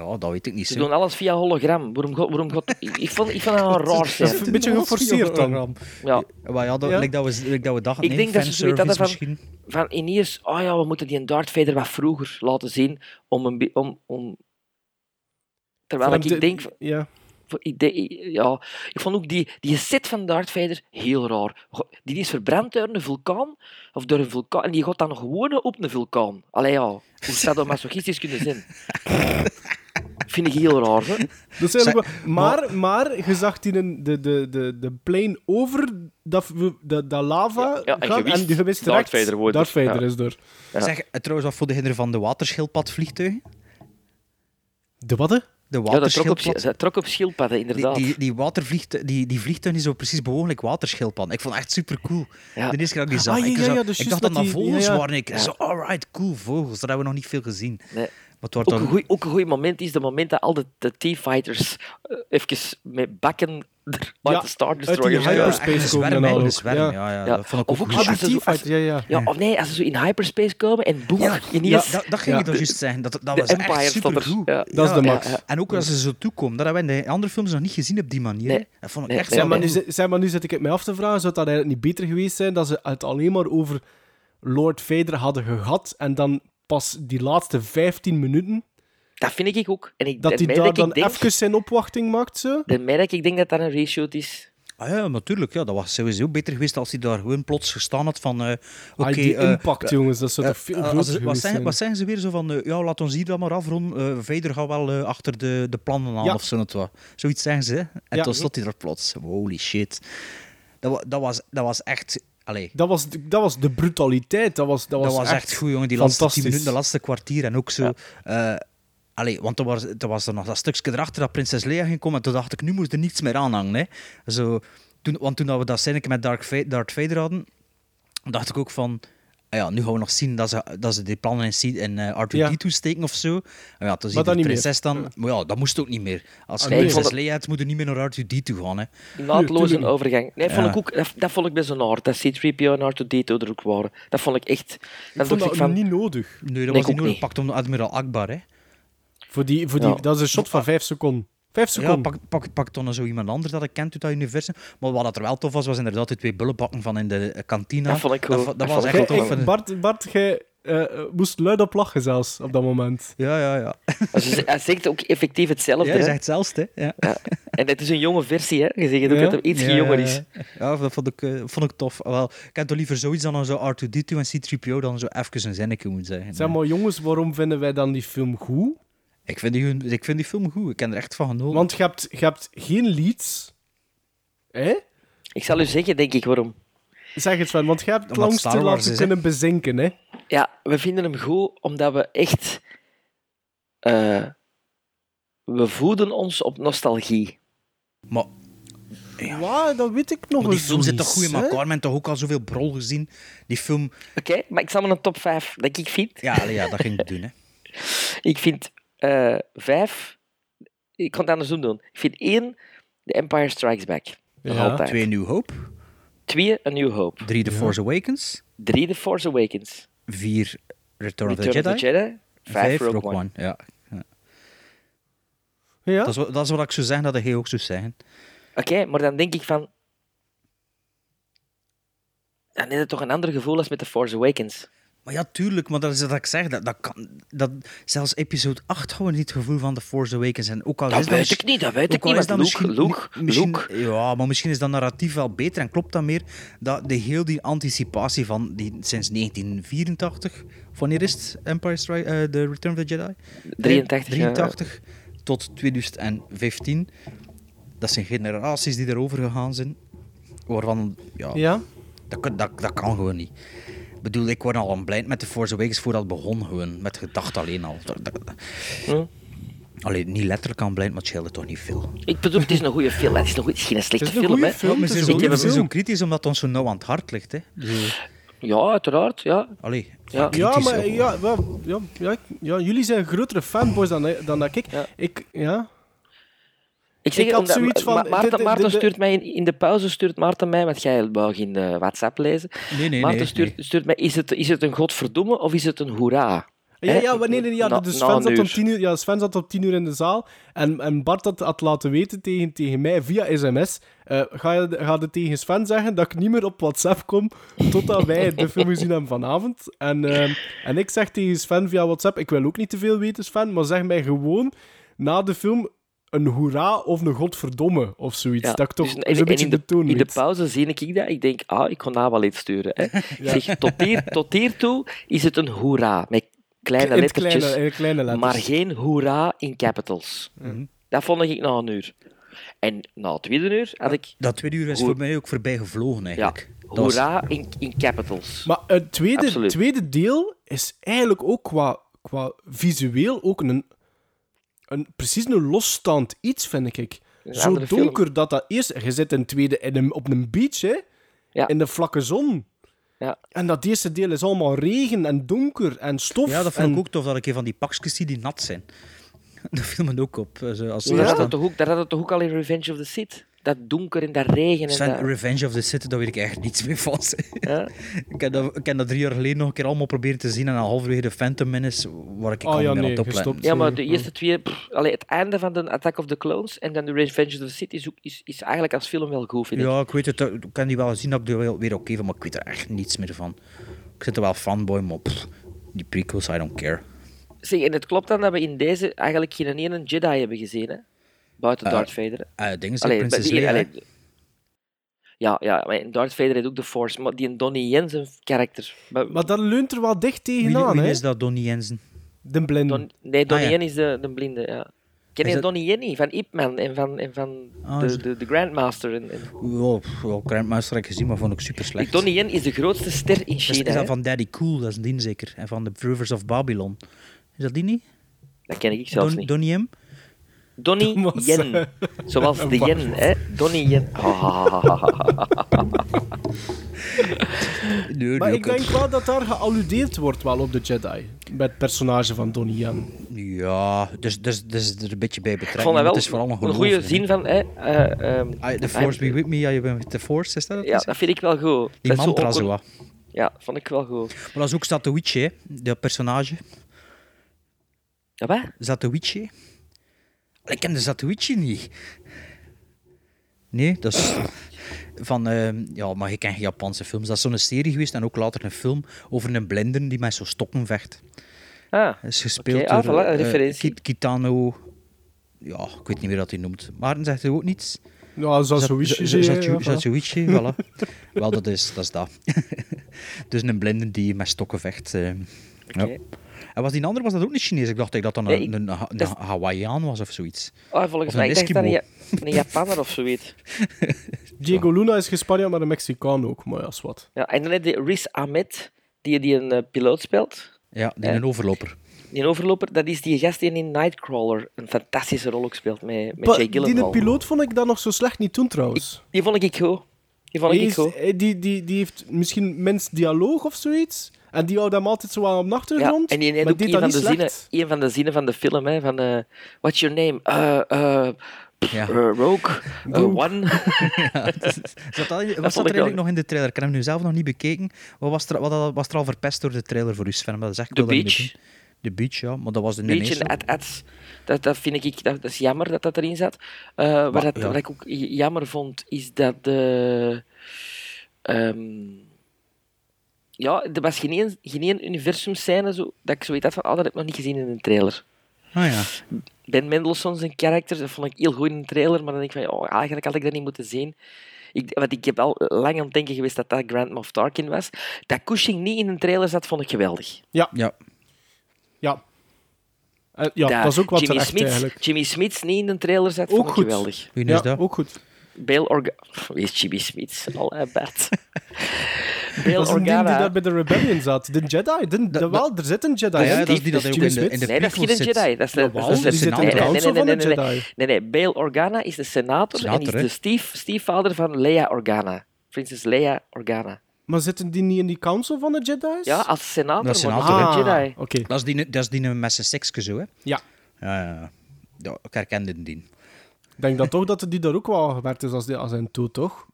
Ja, dat weet ik niet. Ze zo. doen alles via hologram. Waarom, gaat- waarom gaat- ik, ik vond, ik vond [LAUGHS] dat een raar Dat is scène. een beetje geforceerd dan. Ja. Maar ja, dat, Ja. Like dat we, like dat we dachten, Ik nee, denk dat ze zoiets fanservice hadden van- misschien. Van ineens, oh ja, we moeten die Darth Vader wat vroeger laten zien om een... bi- Om, om... Terwijl Van ik, de- denk... Ja. voor- Ik, denk- ja, ik vond ook die, die set van Darth Vader heel raar. Go- Die is verbrand door een vulkaan, of door een vulkaan, en die gaat dan gewoon op een vulkaan. Allee ja, hoe zou dat masochistisch kunnen [LAUGHS] zijn? Vind ik heel raar, hè? Dat is eigenlijk wel- maar, maar je zag die een, de, de, de, de plane over dat, v- dat, dat lava Ja, ja, en je gaan wist, en je wist Darth direct, Vader wordt Darth er, Vader ja. is er. Ja. Zeg, eh, trouwens, wat voor de hinder van de waterschildpadvliegtuigen? De watte? De Ja, dat trok op, waterschildpad. dat trok op schildpadden, die, inderdaad. die, die, watervliegtu- die, die vliegtuigen is zo precies behoorlijk waterschildpad. Ik vond het echt super cool. Ja. De eerste keer dat ik die zag. Ah, ja, ik, ja, zo- ja, ik dus juist dacht dat dat dat die- vogels ja, ja. waren. Ik zo, alright, cool vogels. Dat hebben we nog niet veel gezien. Nee. Maar het wordt Ook dan een goeie- Ook een goed moment is de moment dat al de, de T-fighters eh, even met bakken er uit Ja, de Star uit die Destroyer ja, hyper- ja. echt hyperspace een komen zwerm, en hè, al een ook. zwerm. Ja. Ja, ja, Ja. dat vond ik ook Of ook goed. Ah, zo- de is zo- T-Fighter, ja, ja. Ja, of nee, als ze zo in hyperspace komen en boem, Ja, Ja, ineens dat, dat ging Ja. ik dan juist zeggen. Dat, dat de was Empire echt staat super er. cool. Ja. Dat is de max. ja. En ook als ze zo toekomen, dat hebben we in de andere films nog niet gezien op die manier. Nee. Dat vond ik Nee, echt nee, Zeg super maar, nu, nee. cool. zit- zeg maar, nu zit ik het mij af te vragen, zou het dan eigenlijk niet beter geweest zijn dat ze het alleen maar over Lord Vader hadden gehad en dan pas die laatste 15 minuten, Dat vind ik ook. En ik, dat daarmee hij daar dat dan ik denk, even zijn opwachting maakt, zo? daarmee dat ik denk dat dat een reshoot is. Ah ja, natuurlijk. Ja, dat was sowieso beter geweest als hij daar gewoon plots gestaan had van... eh, Ah, Oké, die eh, impact, jongens, dat zou Eh, toch veel eh, groter als- wat, geweest zeggen, zijn? wat zeggen ze weer zo van, eh, ja, laat ons hier dan maar afronden. eh Vader gaat wel eh, achter de, de plannen aan Ja. of zo. net wat. Zoiets zeggen ze. hè. En Ja. toen stond hij er plots. Holy shit. Dat, wa- dat, was, dat was echt... Allee, Dat was, dat was de brutaliteit. Dat was, dat dat was, was echt goed, jongen. Die laatste tien fantastisch. minuten, de laatste kwartier en ook zo... eh, allee, want er was, er was er nog dat stukje erachter dat prinses Leia ging komen. En toen dacht ik, nu moet er niets meer aanhangen. Hè. Zo, toen, want toen dat we dat scène met Dark Va- Darth Vader hadden, dacht ik ook van... ah Ja, nu gaan we nog zien dat ze, dat ze die plannen in, C- in eh, R2-D2 steken of zo. En ja, toen zie je dan de niet prinses dan... Maar ja, dat moest ook niet meer. Als je Ah, nee, ik prinses vond Leia hebt, moet er niet meer naar R2-D2 gaan. Hè. Naadloze tuurlijk. overgang. Nee, vond Ja. ik ook, dat, dat vond ik best een hard. Dat C-3PO en R2-D2 er ook waren. Dat vond ik echt... Ik Dan vond dacht dat ik van... niet nodig. Nee, dat was ik ook niet nodig. niet. Pakt om admiraal Akbar, hè. Voor die, voor die, Ja. Dat is een shot van 5 seconden. 5 Ja, seconden. pak, pak, pak dan zo iemand anders dat ik kent uit dat universum. Maar wat dat er wel tof was, was inderdaad die twee bullenbakken van in de eh, kantine. Dat vond ik Dat, cool. vo- dat Dat was vond echt ik tof. cool. Jij- eh, Bart, Bart jij eh, moest luid op lachen zelfs op dat moment. Ja, ja, ja. Ze ze- [LAUGHS] Hij zegt ook effectief hetzelfde. Jij hè. zegt hetzelfde, hè. Ja, En het is een jonge versie, hè. Je zegt ook Ja. dat hij iets Ja, jonger ja, is. Ja, Ja, dat vond ik, eh, vond ik tof. Wel, ik heb toch liever zoiets dan zo R2-D2 en C-3PO dan zo even een zinnetje moet zeggen. Zeg maar, jongens, waarom vinden wij dan die film goed? ik, vind die, ik vind die film goed. Ik ken er echt van genoten. Want je hebt, je hebt geen leads. Hè? Ik zal u zeggen, denk ik, waarom. Zeg het van, want je hebt het Omdat Star langste Wars laten is, hè? kunnen bezinken. Hè? Ja, we vinden hem goed omdat we echt... eh, we voeden ons op nostalgie. Maar Ja. dat weet ik nog maar die eens film zit niet, toch goed in hè? elkaar? Men heeft toch ook al zoveel brol gezien? Die film... Oké, maar ik zal maar een top 5 dat ik vind. [LAUGHS] Ja, allee, ja dat ging ik doen, hè. Ik vind eh, vijf ik kan het andersom doen. Ik vind één, The Empire Strikes Back. Nog Ja. altijd. Twee New Hope. Twee, A New Hope. Drie The Force Awakens. Drie, The Force Awakens. Vier Return, Return of the Jedi. Vijf, Rogue, One. Ja. Ja. Ja? Dat, is, wat- dat is wat ik zou zeggen, dat hij ook zou zeggen. Oké, maar dan denk ik van... Dan is het toch een ander gevoel als met The Force Awakens. Maar ja, tuurlijk, maar dat is wat ik zeg. Dat, dat kan, dat, zelfs episode 8 hadden we niet het gevoel van The Force Awakens. En ook al Dat is weet misschien- ik niet, dat weet ook ik al niet, is dat want Luke- misschien- Luke- misschien- Luke. Ja, maar misschien is dat narratief wel beter en klopt dat meer. Dat de heel die anticipatie van die, sinds 1984, of wanneer is het Empire Strike, eh, The Return of the Jedi? 83, ja. 83 tot 2015. Dat zijn generaties die erover gegaan zijn. Waarvan, ja, Ja? dat, kun- dat, dat kan gewoon niet. Ik bedoel, ik word al een blind met de Force Awakens voordat het begon. Gewoon, met gedacht alleen al. Dat- dat- Hm? Alleen niet letterlijk aan blind, maar het scheelde toch niet veel. Ik bedoel, het is een goede film. hè. Het is, nog, het is geen slechte Het is een film, goeie hè. film, maar het ze is zijn een zo- goede ze zijn zo film. kritisch omdat het ons zo nauw aan het hart ligt. Hè. Dus, Ja, uiteraard, ja. allee, Ja. kritisch Ja, maar ook. ja, wel, ja, ja, ik- ja, jullie zijn grotere fanboys dan, dan dat ik. Ja. Ik, ja. Ik zeg Ik het had omdat- zoiets van- Ma- de- Maarten, de- Maarten de- stuurt mij in, in de pauze stuurt Maarten mij, want jij mag in eh, WhatsApp lezen. Nee, nee, Maarten nee, stuurt, nee. stuurt mij: is het, is het een godverdomme of is het een hoera? Ja, Hè? ja, wanneer, nee, ja, Na- dus na Sven, een zat om uur. tien uur, ja Sven zat om tien uur in de zaal en, en Bart had, had laten weten tegen, tegen mij via sms, eh, ga, je, ga je tegen Sven zeggen dat ik niet meer op WhatsApp kom totdat wij de [LAUGHS] film gezien hebben vanavond. En, ehm, en ik zeg tegen Sven via WhatsApp, ik wil ook niet te veel weten Sven, maar zeg mij gewoon na de film een hoera of een godverdomme of zoiets. Ja, dat ik toch dus- eens een beetje in de, toon In de weet. pauze zie ik dat. Ik denk, ah, ik kon daar wel iets sturen. [LAUGHS] Hè. Ik zeg, tot, hier, tot hiertoe is het een hoera. Met kleine in, het lettertjes, kleine, in het kleine letters. maar geen hoera in capitals. Mhm. Dat vond ik na een uur. En na het tweede uur had ik Dat tweede uur is Hoe- voor mij ook voorbij gevlogen ja, eigenlijk. Dat was- hoera in, in capitals. Maar het tweede, Absoluut. tweede deel is eigenlijk ook qua, qua visueel ook een, een, precies een losstaand iets, vind ik. Een Zo andere film. donker dat dat eerst... Je zit in het tweede in een, op een beach, hè. Ja. In de vlakke zon. Ja. En dat eerste deel is allemaal regen en donker en stof. ja, dat vond en- ik ook tof dat ik een van die pakjes zie die nat zijn. [LAUGHS] Dat viel me ook op. eh, zo Als ze Daar daar had staan. het toch ook, daar had het toch ook al in Revenge of the Sith? Dat donker en dat regen en Sven, dat... Revenge of the Sith, daar weet ik eigenlijk niets meer van. [LAUGHS] Ja. ik, heb dat, ik heb dat drie jaar geleden nog een keer allemaal proberen te zien en dan halverwege de Phantom Menace, waar ik Oh al ja, niet meer nee, aan het opletten. gestopt. Ja, maar Mhm. de eerste twee... pff, allee, het einde van de Attack of the Clones en dan de Revenge of the Sith is, ook- is, is eigenlijk als film wel goed, vind ik. Ja, ik weet het. eh, Ik kan die wel zien dat ik er wel weer oké van, maar ik weet er echt niets meer van. Ik zit er wel fanboy, maar pff, die prequels, I don't care. Zeg, en het klopt dan dat we in deze eigenlijk geen ene Jedi hebben gezien, hè? Buiten Eh, Darth Vader. hè? Eh dingen zijn Allee, Prinses maar die- Leia, hè. allee, ja, ja, maar en Darth Vader heeft ook de Force, maar die Donnie Jensen karakter. Maar, Maar dat leunt er wel dicht Wie, tegenaan, wie hè. is dat, Donnie Jensen? De blind. Don- nee, Donnie Ah, ja. Yen is de, de blinde, ja. Ken Is je dat- Donnie Yen niet? Van Ip Man en van, en van Ah, is de, het- de, de Grandmaster. En, en... Wow, pff, wel, Grandmaster heb ik gezien, maar vond ik super slecht. Donnie Yen is de grootste ster in Is, China. is hè. dat van Daddy Cool, dat is die zeker. En van The Rivers of Babylon. Is dat die niet? Dat ken ik zelfs Don- niet. Donnie M? Donnie Thomas, eh, Yen. Zoals [LAUGHS] de Yen, hè? Donnie Yen. Ah, ah, ah, ah, ah, ah. Nee, maar nee, ik denk wel dat daar gealludeerd wordt wel op de Jedi. Bij het personage van Donnie Yen. Ja, dus, dus, dus er een beetje bij Ik betrekken. vond dat wel het is vooral een, een goede goeie zin van. Hè, eh, ehm, The Force be with me, ja, je bent met The Force, is dat het? ja, dat vind ik wel goed. Die Dat is mantra ook zo een- wat. Ja, vond ik wel goed. Maar dat is ook Zatoichi, hè, dat personage. Ja, wat? Zatoichi. Ik ken de Zatoichi niet. Nee, dat is van... ehm, ja, maar ik ken geen Japanse films. Dat is zo'n serie geweest en ook later een film over een blinder die met zo'n stokken vecht. Ah, Dat is gespeeld Oké, ah, door voilà, een eh, referentie. Ki- Kitano... Ja, ik weet niet meer wat hij noemt. Maarten zegt er ook niets. Ja, zoals Zat- zoiets. z- z- ja, zat- ja, zat voilà. zoiets, hè, voilà. [LAUGHS] Wel, dat is dat. Is dat. [LAUGHS] dus een blinde die met stokken vecht. eh, ja. Oké. En was die andere, was dat ook niet Chinees? Ik dacht dat dat dan Nee, een, ik- een, Ha- een dat is- Hawaiiaan was of zoiets. ah, volgens Of mij. een Ik dacht dat een, Eskimo. Ja- een Japanner of zoiets. Diego Luna is geen Spanjaard, maar een Mexicaan ook. Maar ja, is wat. Ja, en dan heb je Riz Ahmed, die, die een eh, piloot speelt. Ja, die Ja. een overloper. Die overloper, dat is die gast die in Nightcrawler een fantastische rol ook speelt met, met Pa- Jay die de Gyllenhaal. piloot vond ik dat nog zo slecht niet toen trouwens. Die vond ik goed. Die vond Die, ik is- goed. eh, die, die, die heeft misschien mens dialoog of zoiets. En die houdt hem altijd zo aan op de Ja, achtergrond. en die neemt maar ook die een dat van, niet de zinnen, slecht. een van de zinnen van de film, hè, van eh What's your name? Eh eh pff, Ja. eh, Rogue, eh, Rogue. [LAUGHS] One. Ja, zat al, wat zat vond ik er eigenlijk wel- nog in de trailer? Ik heb hem nu zelf nog niet bekeken. Wat was er, wat al- was er al verpest door de trailer voor u, Sven? Dat is echt, ik The wil dat niet Beach. doen. De Beach, ja. Maar dat was de Beetje eerste. een at-ats. Dat, dat vind ik, dat, dat is jammer dat dat erin zat. Eh, wat, dat, ja. wat ik ook j- jammer vond, is dat de... ehm, ja, er was geen, eens- geen één universum-scène zo, dat ik zoiets had van, oh, dat heb ik nog niet gezien in een trailer. Ah ja. Ben Mendelssohn zijn karakter, dat vond ik heel goed in de trailer, maar dan denk ik van, oh, eigenlijk had ik dat niet moeten zien. Ik, want ik heb al lang aan het denken geweest dat dat Grand Moff Tarkin was. Dat Cushing niet in een trailer zat, vond ik geweldig. ja. Ja. Eh, ja, dat, is ook wat Jimmy terecht Smith, eigenlijk. Jimmy Smith niet in een trailer zat, Ook vond ik goed. geweldig. Wie Ja, is dat? ook goed. Bail Organa... Wees Jimmy Smith, al hè, [LAUGHS] Bert. Dat Bail is een ding die daar Organa... bij de Rebellion zat. De Jedi. De, de, dat- wel, er zit een Jedi. Ah ja, in. dat is die dat is ook in de- Jimmy in de- Smith. Nee, dat is geen prequels zit. Jedi. Dat is de, Jawel, dat is de die zit in het senator. Nee, nee, council nee, van de nee, nee, nee. Jedi. Nee, nee, Bail Organa is de senator, en Senator, is hè? de stief, stiefvader van Leia Organa. Prinses Leia Organa. Maar zitten die niet in die council van de Jedi's? Ja, als senator, Dat is maar senator, niet als Ah, Jedi. oké. Dat is die, dat is die met zijn sekske zo, hè? Ja. Ja, ja, ja. ja ik herkende die. Ik denk dat toch dat die daar ook wel gewerkt is als, die, als een toe, toch?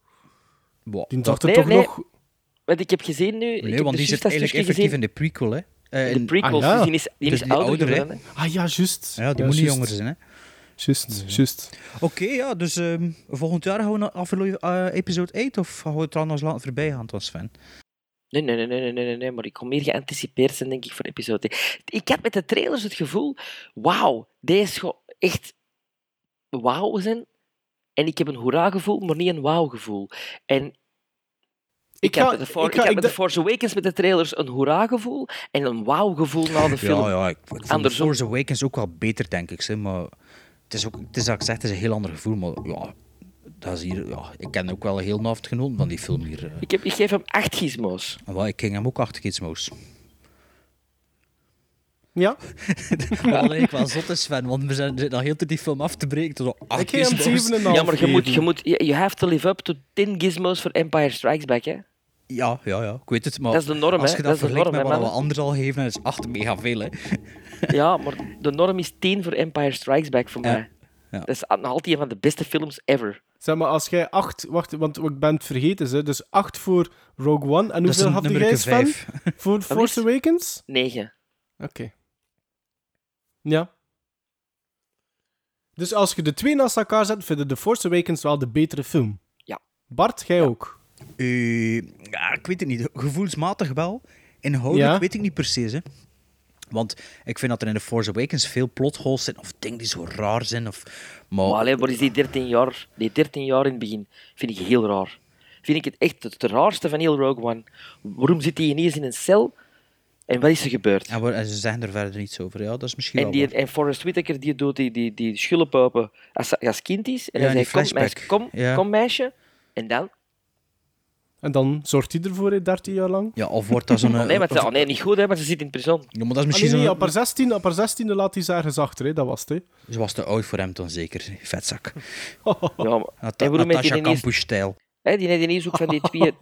Wow, Die dat- dacht er Nee, toch nee. nog... Wat ik heb gezien nu... ik nee, heb want die dus zit juist dat eigenlijk stukje effectief gezien in de prequel, hè? Eh, in in- de prequels, Ah, ja. dus die is, die Dus is die ouder ouder, hè? geworden. hè. Ah ja, juist. ja, die Ja, moet niet juist. jonger zijn, hè? Juist, juist. Oké, ja, dus ehm, volgend jaar gaan we naar afle- eh, episode 8 of gaan we het trouwens laten voorbij gaan, Tom Sven? Nee, nee, nee, nee, nee, nee, nee, nee, maar ik kon meer geanticipeerd zijn, denk ik, voor episode 1. Ik had met de trailers het gevoel, wauw, deze gaat echt wauw zijn. En ik heb een hoera-gevoel, maar niet een wauw-gevoel. En ik, Ik had ga- met de, For- ik ik ga- had ik met de d- Force Awakens met de trailers een hoera-gevoel en een wauw-gevoel na Oh, de film. Ja, ja, ik, ik vond Andersom. Force Awakens ook wel beter, denk ik. Zeg, maar het is ook, het is, dat ik zeg, het is een heel ander gevoel, maar ja, dat is hier, ja, ik ken ook wel heel naft genoten van die film hier. eh. Ik, heb, ik geef hem acht gizmos. En wel, ik ging hem ook achter gizmos. Ja, Alleen ik [LAUGHS] wel zot is, Sven, want we zijn, zitten al heel tijd die film af te breken. Tot al ik geef hem 7,5. Ja, maar je moet, je geven. moet, you have to live up to 10 gizmos voor Empire Strikes [LAUGHS] Back, hè. Ja, ja, ja, ik weet het, maar Dat is de norm, als hè. je dat, Dat is de vergelijkt norm, met hè, wat we anders mannen. al geven, dan is 8 mega veel, hè. Ja, maar de norm is 10 voor Empire Strikes Back voor mij. ja. Dat is nog altijd een van de beste films ever. Zeg maar, als jij 8... Wacht, want ik ben het vergeten, hè. Dus 8 voor Rogue One. En Dat is hoeveel een had jij, nummerke Sven? vijf. [LAUGHS] Voor Force is- Awakens? 9. Oké. Ja. Dus als je de twee naast elkaar zet, vinden The Force Awakens wel de betere film. Ja. Bart, jij ook. Eh, ja, ik weet het niet. Gevoelsmatig wel. Inhoudelijk Ja? weet ik niet precies. Hè. Want ik vind dat er in The Force Awakens veel plotholes zijn. Of dingen die zo raar zijn. Of, maar Maar alleen, wat is die 13 jaar? Die 13 jaar in het begin vind ik heel raar. Vind ik het echt het raarste van heel Rogue One. Waarom zit hij ineens in een cel? En wat is er gebeurd? en, we- en ze zeggen er verder niets over. Ja, dat is misschien En, wel die, waar. en Forrest Whitaker die doet die, die, die schulpenpen als, ze- als kind is. En Ja, hij die zegt, kom meisje, flashback. kom, Ja. kom meisje. En dan? En dan zorgt hij ervoor, hè, 13 jaar lang. Ja, of wordt dat zo'n... Oh [LAUGHS] nee, maar, of- ze- oh nee, niet goed, hè, maar ze zit in prison. Ja, maar dat is Ah, nee, misschien nee, zo'n... op haar 16, op haar 16 laat hij ze ergens achter, hè. dat was het. Hè. Ze was te oud voor hem dan zeker. Vetzak. Ja, maar, Nata en waarom heeft Natasha hij ineens Kampusch-stijl. Hè, die die is ook van die [LAUGHS] twee,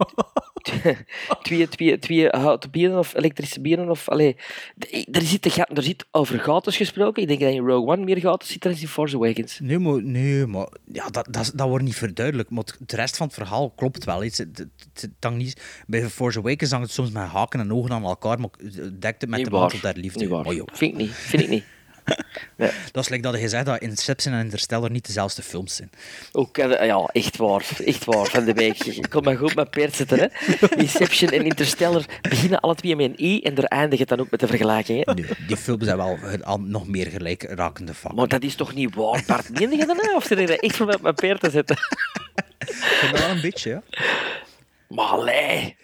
twee, twee, twee houten bieren of elektrische bieren. Of, allee, d- er, zit, de ga- er zit over gaten gesproken. Ik denk dat in Rogue One meer gaten zit dan in Force Awakens. Nee, maar, nee, maar ja, dat, dat, dat wordt niet verduidelijk. Maar het- de rest van het verhaal klopt wel. iets. Het, het, het hangt niet, bij The Force Awakens hangt het soms met haken en ogen aan elkaar, maar het dekt het met niet de waar. mantel der liefde. Niet waar. Maar joh, Vind ik niet. Vind ik niet. dat is like dat je zegt dat Inception en Interstellar niet dezelfde films zijn. [LAUGHS] Ook, eh, ja, echt waar. Echt waar. Van de week. [LAUGHS] Ik kon maar goed met peert zitten. Hè. [LAUGHS] Inception en Interstellar beginnen alle twee met een I en daar eindigt het dan ook met de vergelijking. Hè. Nee, die films zijn wel ge- aan nog meer gelijk rakende vakken. Maar dat is toch niet waar, Bart? Meen je dat nou? Of zit je dat echt voor met mijn peert te zitten? Ik vind dat wel een beetje, ja. Maar allee.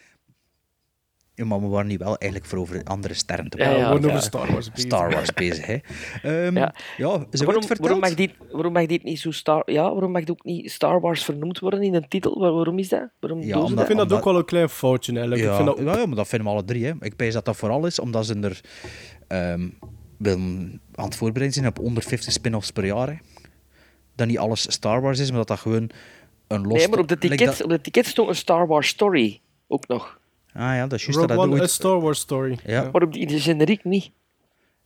Ja, maar we waren niet wel eigenlijk voor over andere sterren te Ja, Ja, praten. we worden ja. over Star Wars bezig. Star Wars bezig, hè. Ehm, ja. Ja. ze wordt waarom, verteld. waarom, mag dit, waarom mag dit niet zo Star... Ja, waarom mag het ook niet Star Wars vernoemd worden in een titel? Waar- waarom is dat? Waarom Ja, doen ze omdat- Ik vind dat Omdat- ook wel een klein foutje, eigenlijk. Ja, Ik vind dat ja, ja, maar dat vinden we alle drie. Hè. Ik pijs dat dat vooral is omdat ze er ehm willen aan het voorbereiden zijn op onder 50 spin-offs per jaar. Hè. Dat niet alles Star Wars is, maar dat dat gewoon een los... Nee, maar op de, Like tickets, dat- op de tickets stond een Star Wars story. Ook nog. Ah ja, dat is juist dat Rogue dat One, A ooit... Star Wars Story. Ja. Maar op die, in de generiek niet.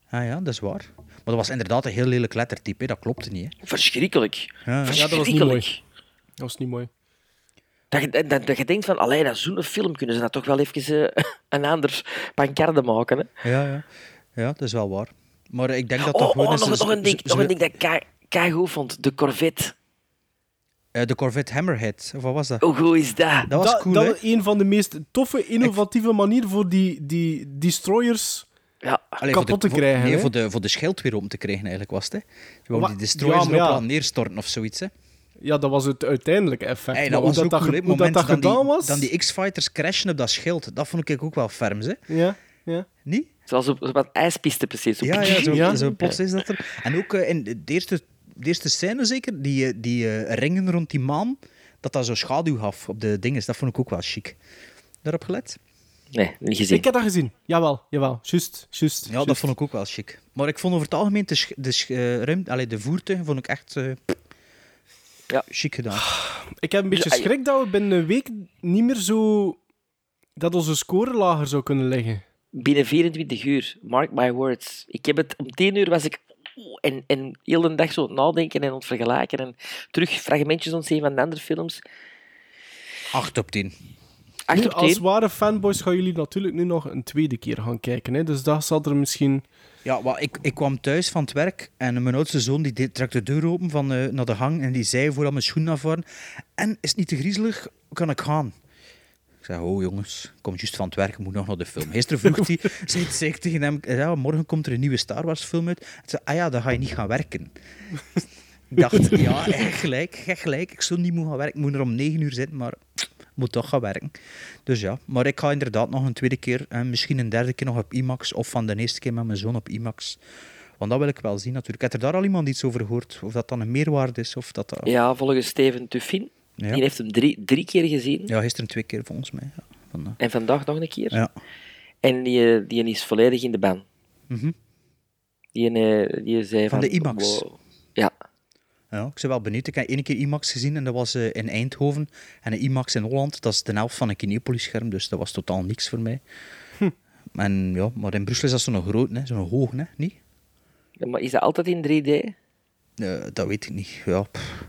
Ah ja, dat is waar. Maar dat was inderdaad een heel lelijk lettertype, hè. dat klopte niet. Hè. Verschrikkelijk. Ja, ja. dat was niet Verschrikkelijk. mooi. Dat was niet mooi. Dat je, dat, dat je denkt van, allee, dat is zo'n film, kunnen ze dat toch wel even eh, [LAUGHS] een ander pancarde maken, hè? Ja, ja. ja, dat is wel waar. Maar ik denk dat Oh, dat oh, gewoon is... nog, nog een ding, ze- nog een ze- ding dat ik kei- keigoed vond. De Corvette. eh, de Corvette Hammerhead, of wat was dat? Oh, Hoe goed is dat? Dat was dat, cool, dat hè? was een van de meest toffe, innovatieve manieren voor die, die destroyers. Ja. Allee, voor de- kapot te voor- krijgen, Nee, hè? voor de, voor de schild weer om te krijgen, eigenlijk, was het. Hè? Je wou Wa- die destroyers Ja, maar erop ja. aan neerstorten of zoiets, hè? Ja, dat was het uiteindelijke effect. Hey, Maar dat hoe was ook dat, cool, ge- hè? hoe dat, Moment dat dan die- gedaan was... Dan die X-Fighters crashen op dat schild, dat vond ik ook wel ferms, hè? Ja, ja. Niet? Zoals op, op een ijspiste precies. Zo- Ja, ja, zo, Ja. zo plots is dat er. En ook eh, in de eerste, de eerste scène zeker, die, eh, die eh, ringen rond die maan, dat dat zo schaduw gaf op de dingen. Dat vond ik ook wel chic. Daarop gelet? Nee, niet gezien. Ik heb dat gezien. Jawel, jawel. Juist, juist. Ja, dat vond ik ook wel chic. Maar ik vond over het algemeen de, sch- de, sch- eh, ruimte, allee, de voertuigen vond ik echt eh, Ja. chic gedaan. Ik heb een beetje Dus, ah, ja. schrik dat we binnen een week niet meer zo... Dat onze score lager zou kunnen liggen. Binnen 24 uur, mark my words. Ik heb het, om 10 uur was ik... oeh, En, en heel de dag zo aan het nadenken en aan het vergelijken. En terug fragmentjes ontzien van de andere films. 8 op 10. Nu, 8 op als 10. ware fanboys gaan jullie natuurlijk nu nog een tweede keer gaan kijken. Hè? Dus dat zal er misschien... Ja, wel, ik, ik kwam thuis van het werk en mijn oudste zoon die deed- trok de deur open van, eh, naar de hang en die zei vooral mijn schoenen afwaren. En is het niet te griezelig, kan ik gaan? Ik zei, oh jongens, ik kom juist van het werk, ik moet nog naar de film. Gisteren vroeg hij, zei, zei ik tegen hem, ja, morgen komt er een nieuwe Star Wars film uit. Hij zei, ah ja, dan ga je niet gaan werken. ik dacht, ja, echt gelijk, echt gelijk. Ik zou niet moeten gaan werken, ik moet er om negen uur zitten, maar ik moet toch gaan werken. Dus ja, maar ik ga inderdaad nog een tweede keer en misschien een derde keer nog op IMAX of van de eerste keer met mijn zoon op IMAX. Want dat wil ik wel zien natuurlijk. Ik heb er daar al iemand iets over gehoord, of dat dan een meerwaarde is of dat... dat... Ja, volgens Steven Tuffin. Ja. Die heeft hem drie, drie keer gezien. Ja, gisteren twee keer volgens mij. Ja. Van, eh, En vandaag nog een keer. ja. En die, eh, die is volledig in de ban. Mhm. Die, eh, die zei Van de IMAX. wow. Ja, Ja, ik ben wel benieuwd. Ik heb één keer IMAX gezien en dat was eh, in Eindhoven. En een IMAX in Holland, dat is de helft van een Kinepolis-scherm, dus dat was totaal niks voor mij. Hm. En ja, maar in Brussel is dat zo'n groot, hè, zo'n hoog, hè, niet? Ja, maar is dat altijd in 3D? Eh, dat weet ik niet. Ja, pff.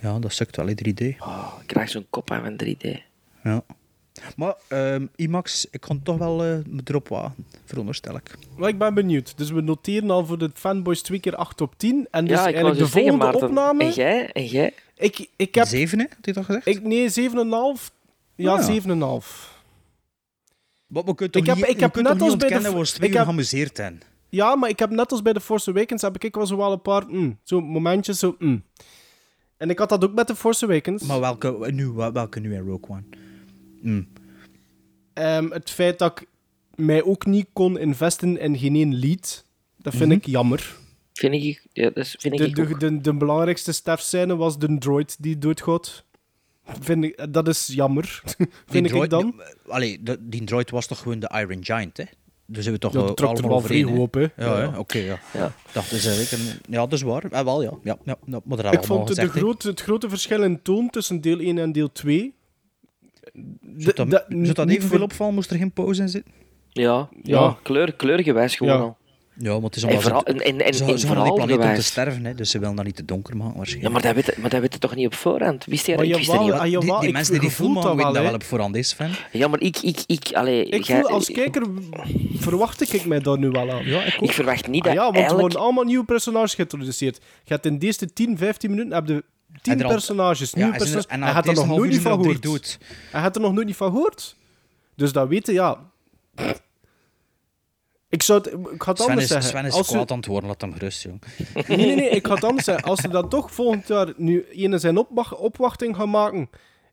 ja dat sukt wel, hè, 3D. Oh, ik krijg zo'n kop aan van Dus 3D. Ja. Maar ehm, IMAX, ik kon toch wel eh, me erop wagen, veronderstel ik. Maar ik ben benieuwd. Dus we noteren al voor de fanboys twee keer 8 op 10. En dus ja, ik eigenlijk de dus zeggen, volgende Maarten, opname... En jij? En jij? Ik, ik heb... Zeven, hè, had je dat gezegd? Ik, nee, 7,5. Ah, Ja, ja. 7,5. Maar we kunnen toch Ik heb- niet, ik we kunnen toch heb net niet als bij de ontkennen v- waar ze twee ik uur heb- geamuseerd zijn. Ja, maar ik heb net als bij The Force Awakens, heb ik ook wel zo wel een paar mm, zo momentjes, zo mm. En ik had dat ook met The Force Awakens. Maar welke nu, welke nu in Rogue One? Ehm, het feit dat ik mij ook niet kon investen in geen één lied, dat vind Mhm. ik jammer. Vind ik, ja, dat is- vind ik De, de, ook. de, de belangrijkste sterfscène was de droid die doodgaat. Vind ik, dat is jammer, [LAUGHS] vind ik droid, dan. Allee, de- die droid was toch gewoon de Iron Giant, hè? Dus hebben we toch Ja, eh, dat trok er allemaal wel vrij overeen, hè? goed op, hè. Ja, hè, oké, ja. Ja. Dat is eigenlijk een... Ja, dat is waar. Eh, wel, ja. ja, ja, ja. Maar daar hebben we Ik allemaal vond de gezegd, hè. grote, het grote verschil in toon tussen deel 1 en deel 2... Zou dat, dat- zou dat niet evenveel voor- opvallen? Moest er geen pauze in zitten? Ja, ja. Ja. kleur, kleurgewijs gewoon Ja. al. Ja, maar het is En allemaal... vooral, en, en, en, ze, en ze hadden die planeet om te verhaalgewijs. sterven, hè, dus ze willen dat niet te donker maken, Ja, waarschijnlijk. maar dat weet, maar dat weet je toch niet op voorhand? Wist jij Maar dat? Ik wist dat niet. jawel, ah, Die- die, jawel, ik mensen die die gevoel film dat maken, weten wel, dat wel hè. op voorhand is, fan. Ja, maar ik... Ik, ik, allee, Ik jij- voel als kijker, verwacht ik mij daar nu wel aan. Ja, ik ik verwacht Ah niet dat ja, want er eigenlijk... worden allemaal nieuwe personages geïntroduceerd. Je hebt in de eerste 10, 15 minuten heb je 10 En er al- personages, nieuwe en, personages. En na hij had het er nog eerste half nooit niet uur zijn er al van gehoord. drie dood. Hij had er nog nooit niet van gehoord. Dus dat weten, ja. Ik zou het, ik ga het Sven anders is, zeggen. Sven is Als ze- kwaad aan het worden, laat hem gerust, jong. nee, nee, nee, ik ga het anders zeggen. Als ze dat toch volgend jaar nu in zijn opma- opwachting gaan maken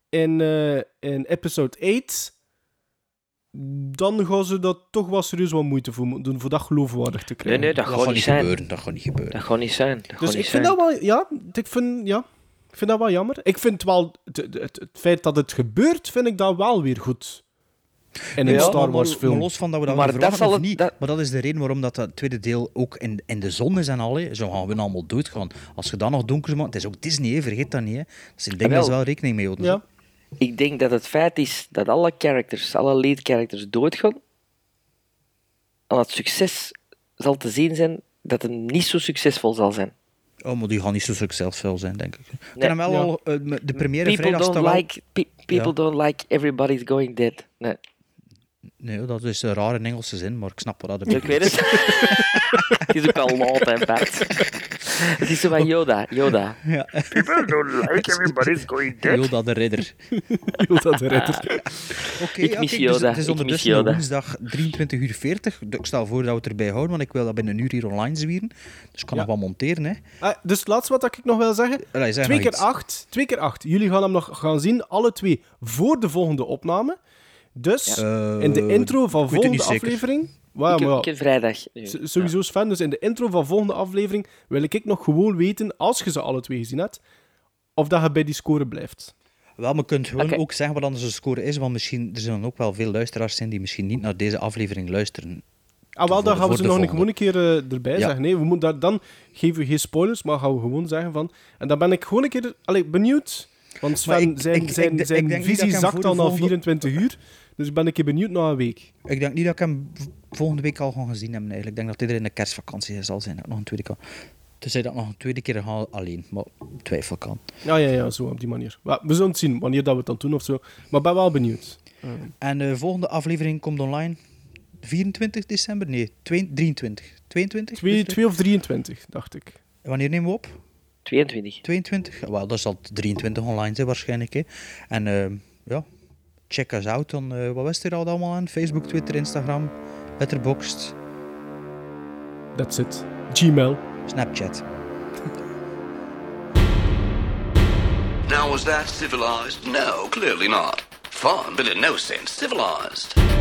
in, eh, in episode 8, dan gaan ze dat toch wel serieus wat moeite voor moeten doen, voor dat geloofwaardig te Nee, krijgen. nee, dat, Dat gaat gaat niet niet zijn. gebeuren, dat gaat niet gebeuren. Dat gaat niet zijn. Dat gaat Dus niet ik zijn. vind dat wel, ja, ik vind, ja, ik vind dat wel jammer. Ik vind wel, het, het, het feit dat het gebeurt, vind ik dat wel weer goed. In een Ja, Star Maar- maar- Wars film. Maar los van dat we dat Maar maar verwachten dat zal of het- niet. dat- Maar dat is de reden waarom dat, dat tweede deel ook in, in de zon is en al. hè. Zo gaan we allemaal doodgaan. Als je dan nog donker maakt... Het is ook Disney, hè, vergeet dat niet. Hè. Dus ik denk Jawel. dat ze wel rekening mee houden. Ja. Ik denk dat het feit is dat alle characters, alle lead characters doodgaan, aan het succes zal te zien zijn dat het niet zo succesvol zal zijn. Oh, maar die gaan niet zo succesvol zijn, denk ik. Ik kan Nee. hem wel Ja. al, eh, de première People vrijdag don't staat wel- like pe- people Ja. don't like everybody's going dead. Nee, Nee, dat is een rare Engelse zin, maar ik snap wat dat ik bedoelt. weet [LAUGHS] het. [LAUGHS] het is ook al laat, hè, [LAUGHS] Bart. Het is zo van Yoda. Yoda. People don't like everybody's going dead. Yoda de [LAUGHS] Ridder. Yoda de [LAUGHS] Ridder. Oké, Ik ja, kijk, mis dus Yoda, Het is ik mis ondertussen Yoda. woensdag 23 uur 40. Ik stel voor dat we het erbij houden, want ik wil dat binnen een uur hier online zwieren. Dus ik kan nog wat monteren, hè. Ah, dus het laatste wat ik nog wil zeggen. Allee, zeg twee nog keer iets. acht. Twee keer acht. Jullie gaan hem nog gaan zien, alle twee, voor de volgende opname. Dus Ja. in de Eh, intro van ik weet het niet volgende zeker. aflevering... Wauw, ik, heb, maar ja, ik heb vrijdag. nu. S- Sowieso Sven, dus in de intro van volgende aflevering wil ik nog gewoon weten, als je ze alle twee gezien hebt, of dat je bij die score blijft. Wel, maar je kunt gewoon Oké. ook zeggen wat anders de score is, want misschien, er zullen ook wel veel luisteraars zijn die misschien niet naar deze aflevering luisteren. Ah, wel, Voor dan de- gaan we voor ze de nog een, volgende. gewoon een keer eh, erbij Ja. zeggen. Nee, we moeten daar, dan geven we geen spoilers, maar gaan we gewoon zeggen van... En dan ben ik gewoon een keer allee, benieuwd, want Maar Sven, ik- zijn, ik- ik- zijn, ik- ik zijn denk niet dat visie ik hem voor zakt de al na volgende- 24 uur, dus ben ik je benieuwd na een week. Ik denk niet dat ik hem v- volgende week al ga gezien hebben, eigenlijk. Ik denk dat dit er in de kerstvakantie zal zijn, dat ik nog een tweede kan. Tenzij dat ik nog een tweede keer ga alleen, maar twijfel kan. Ah, Ja, ja, ja, zo, op die manier. Maar we zullen het zien, wanneer dat we het dan doen of zo. Maar ben wel benieuwd. En de volgende aflevering komt online 24 december? Nee, 22, 23. 22? 2, 2 of 23, dacht ik. Wanneer nemen we op? 22. 22? Wel, dat zal 23 online zijn waarschijnlijk. Hè. En eh, ja, check us out. Dan, eh, wat was er al allemaal aan? Facebook, Twitter, Instagram, Letterboxd, That's it. Gmail. Snapchat. Now, was that civilized? No, clearly not. Fun, but in no sense civilized.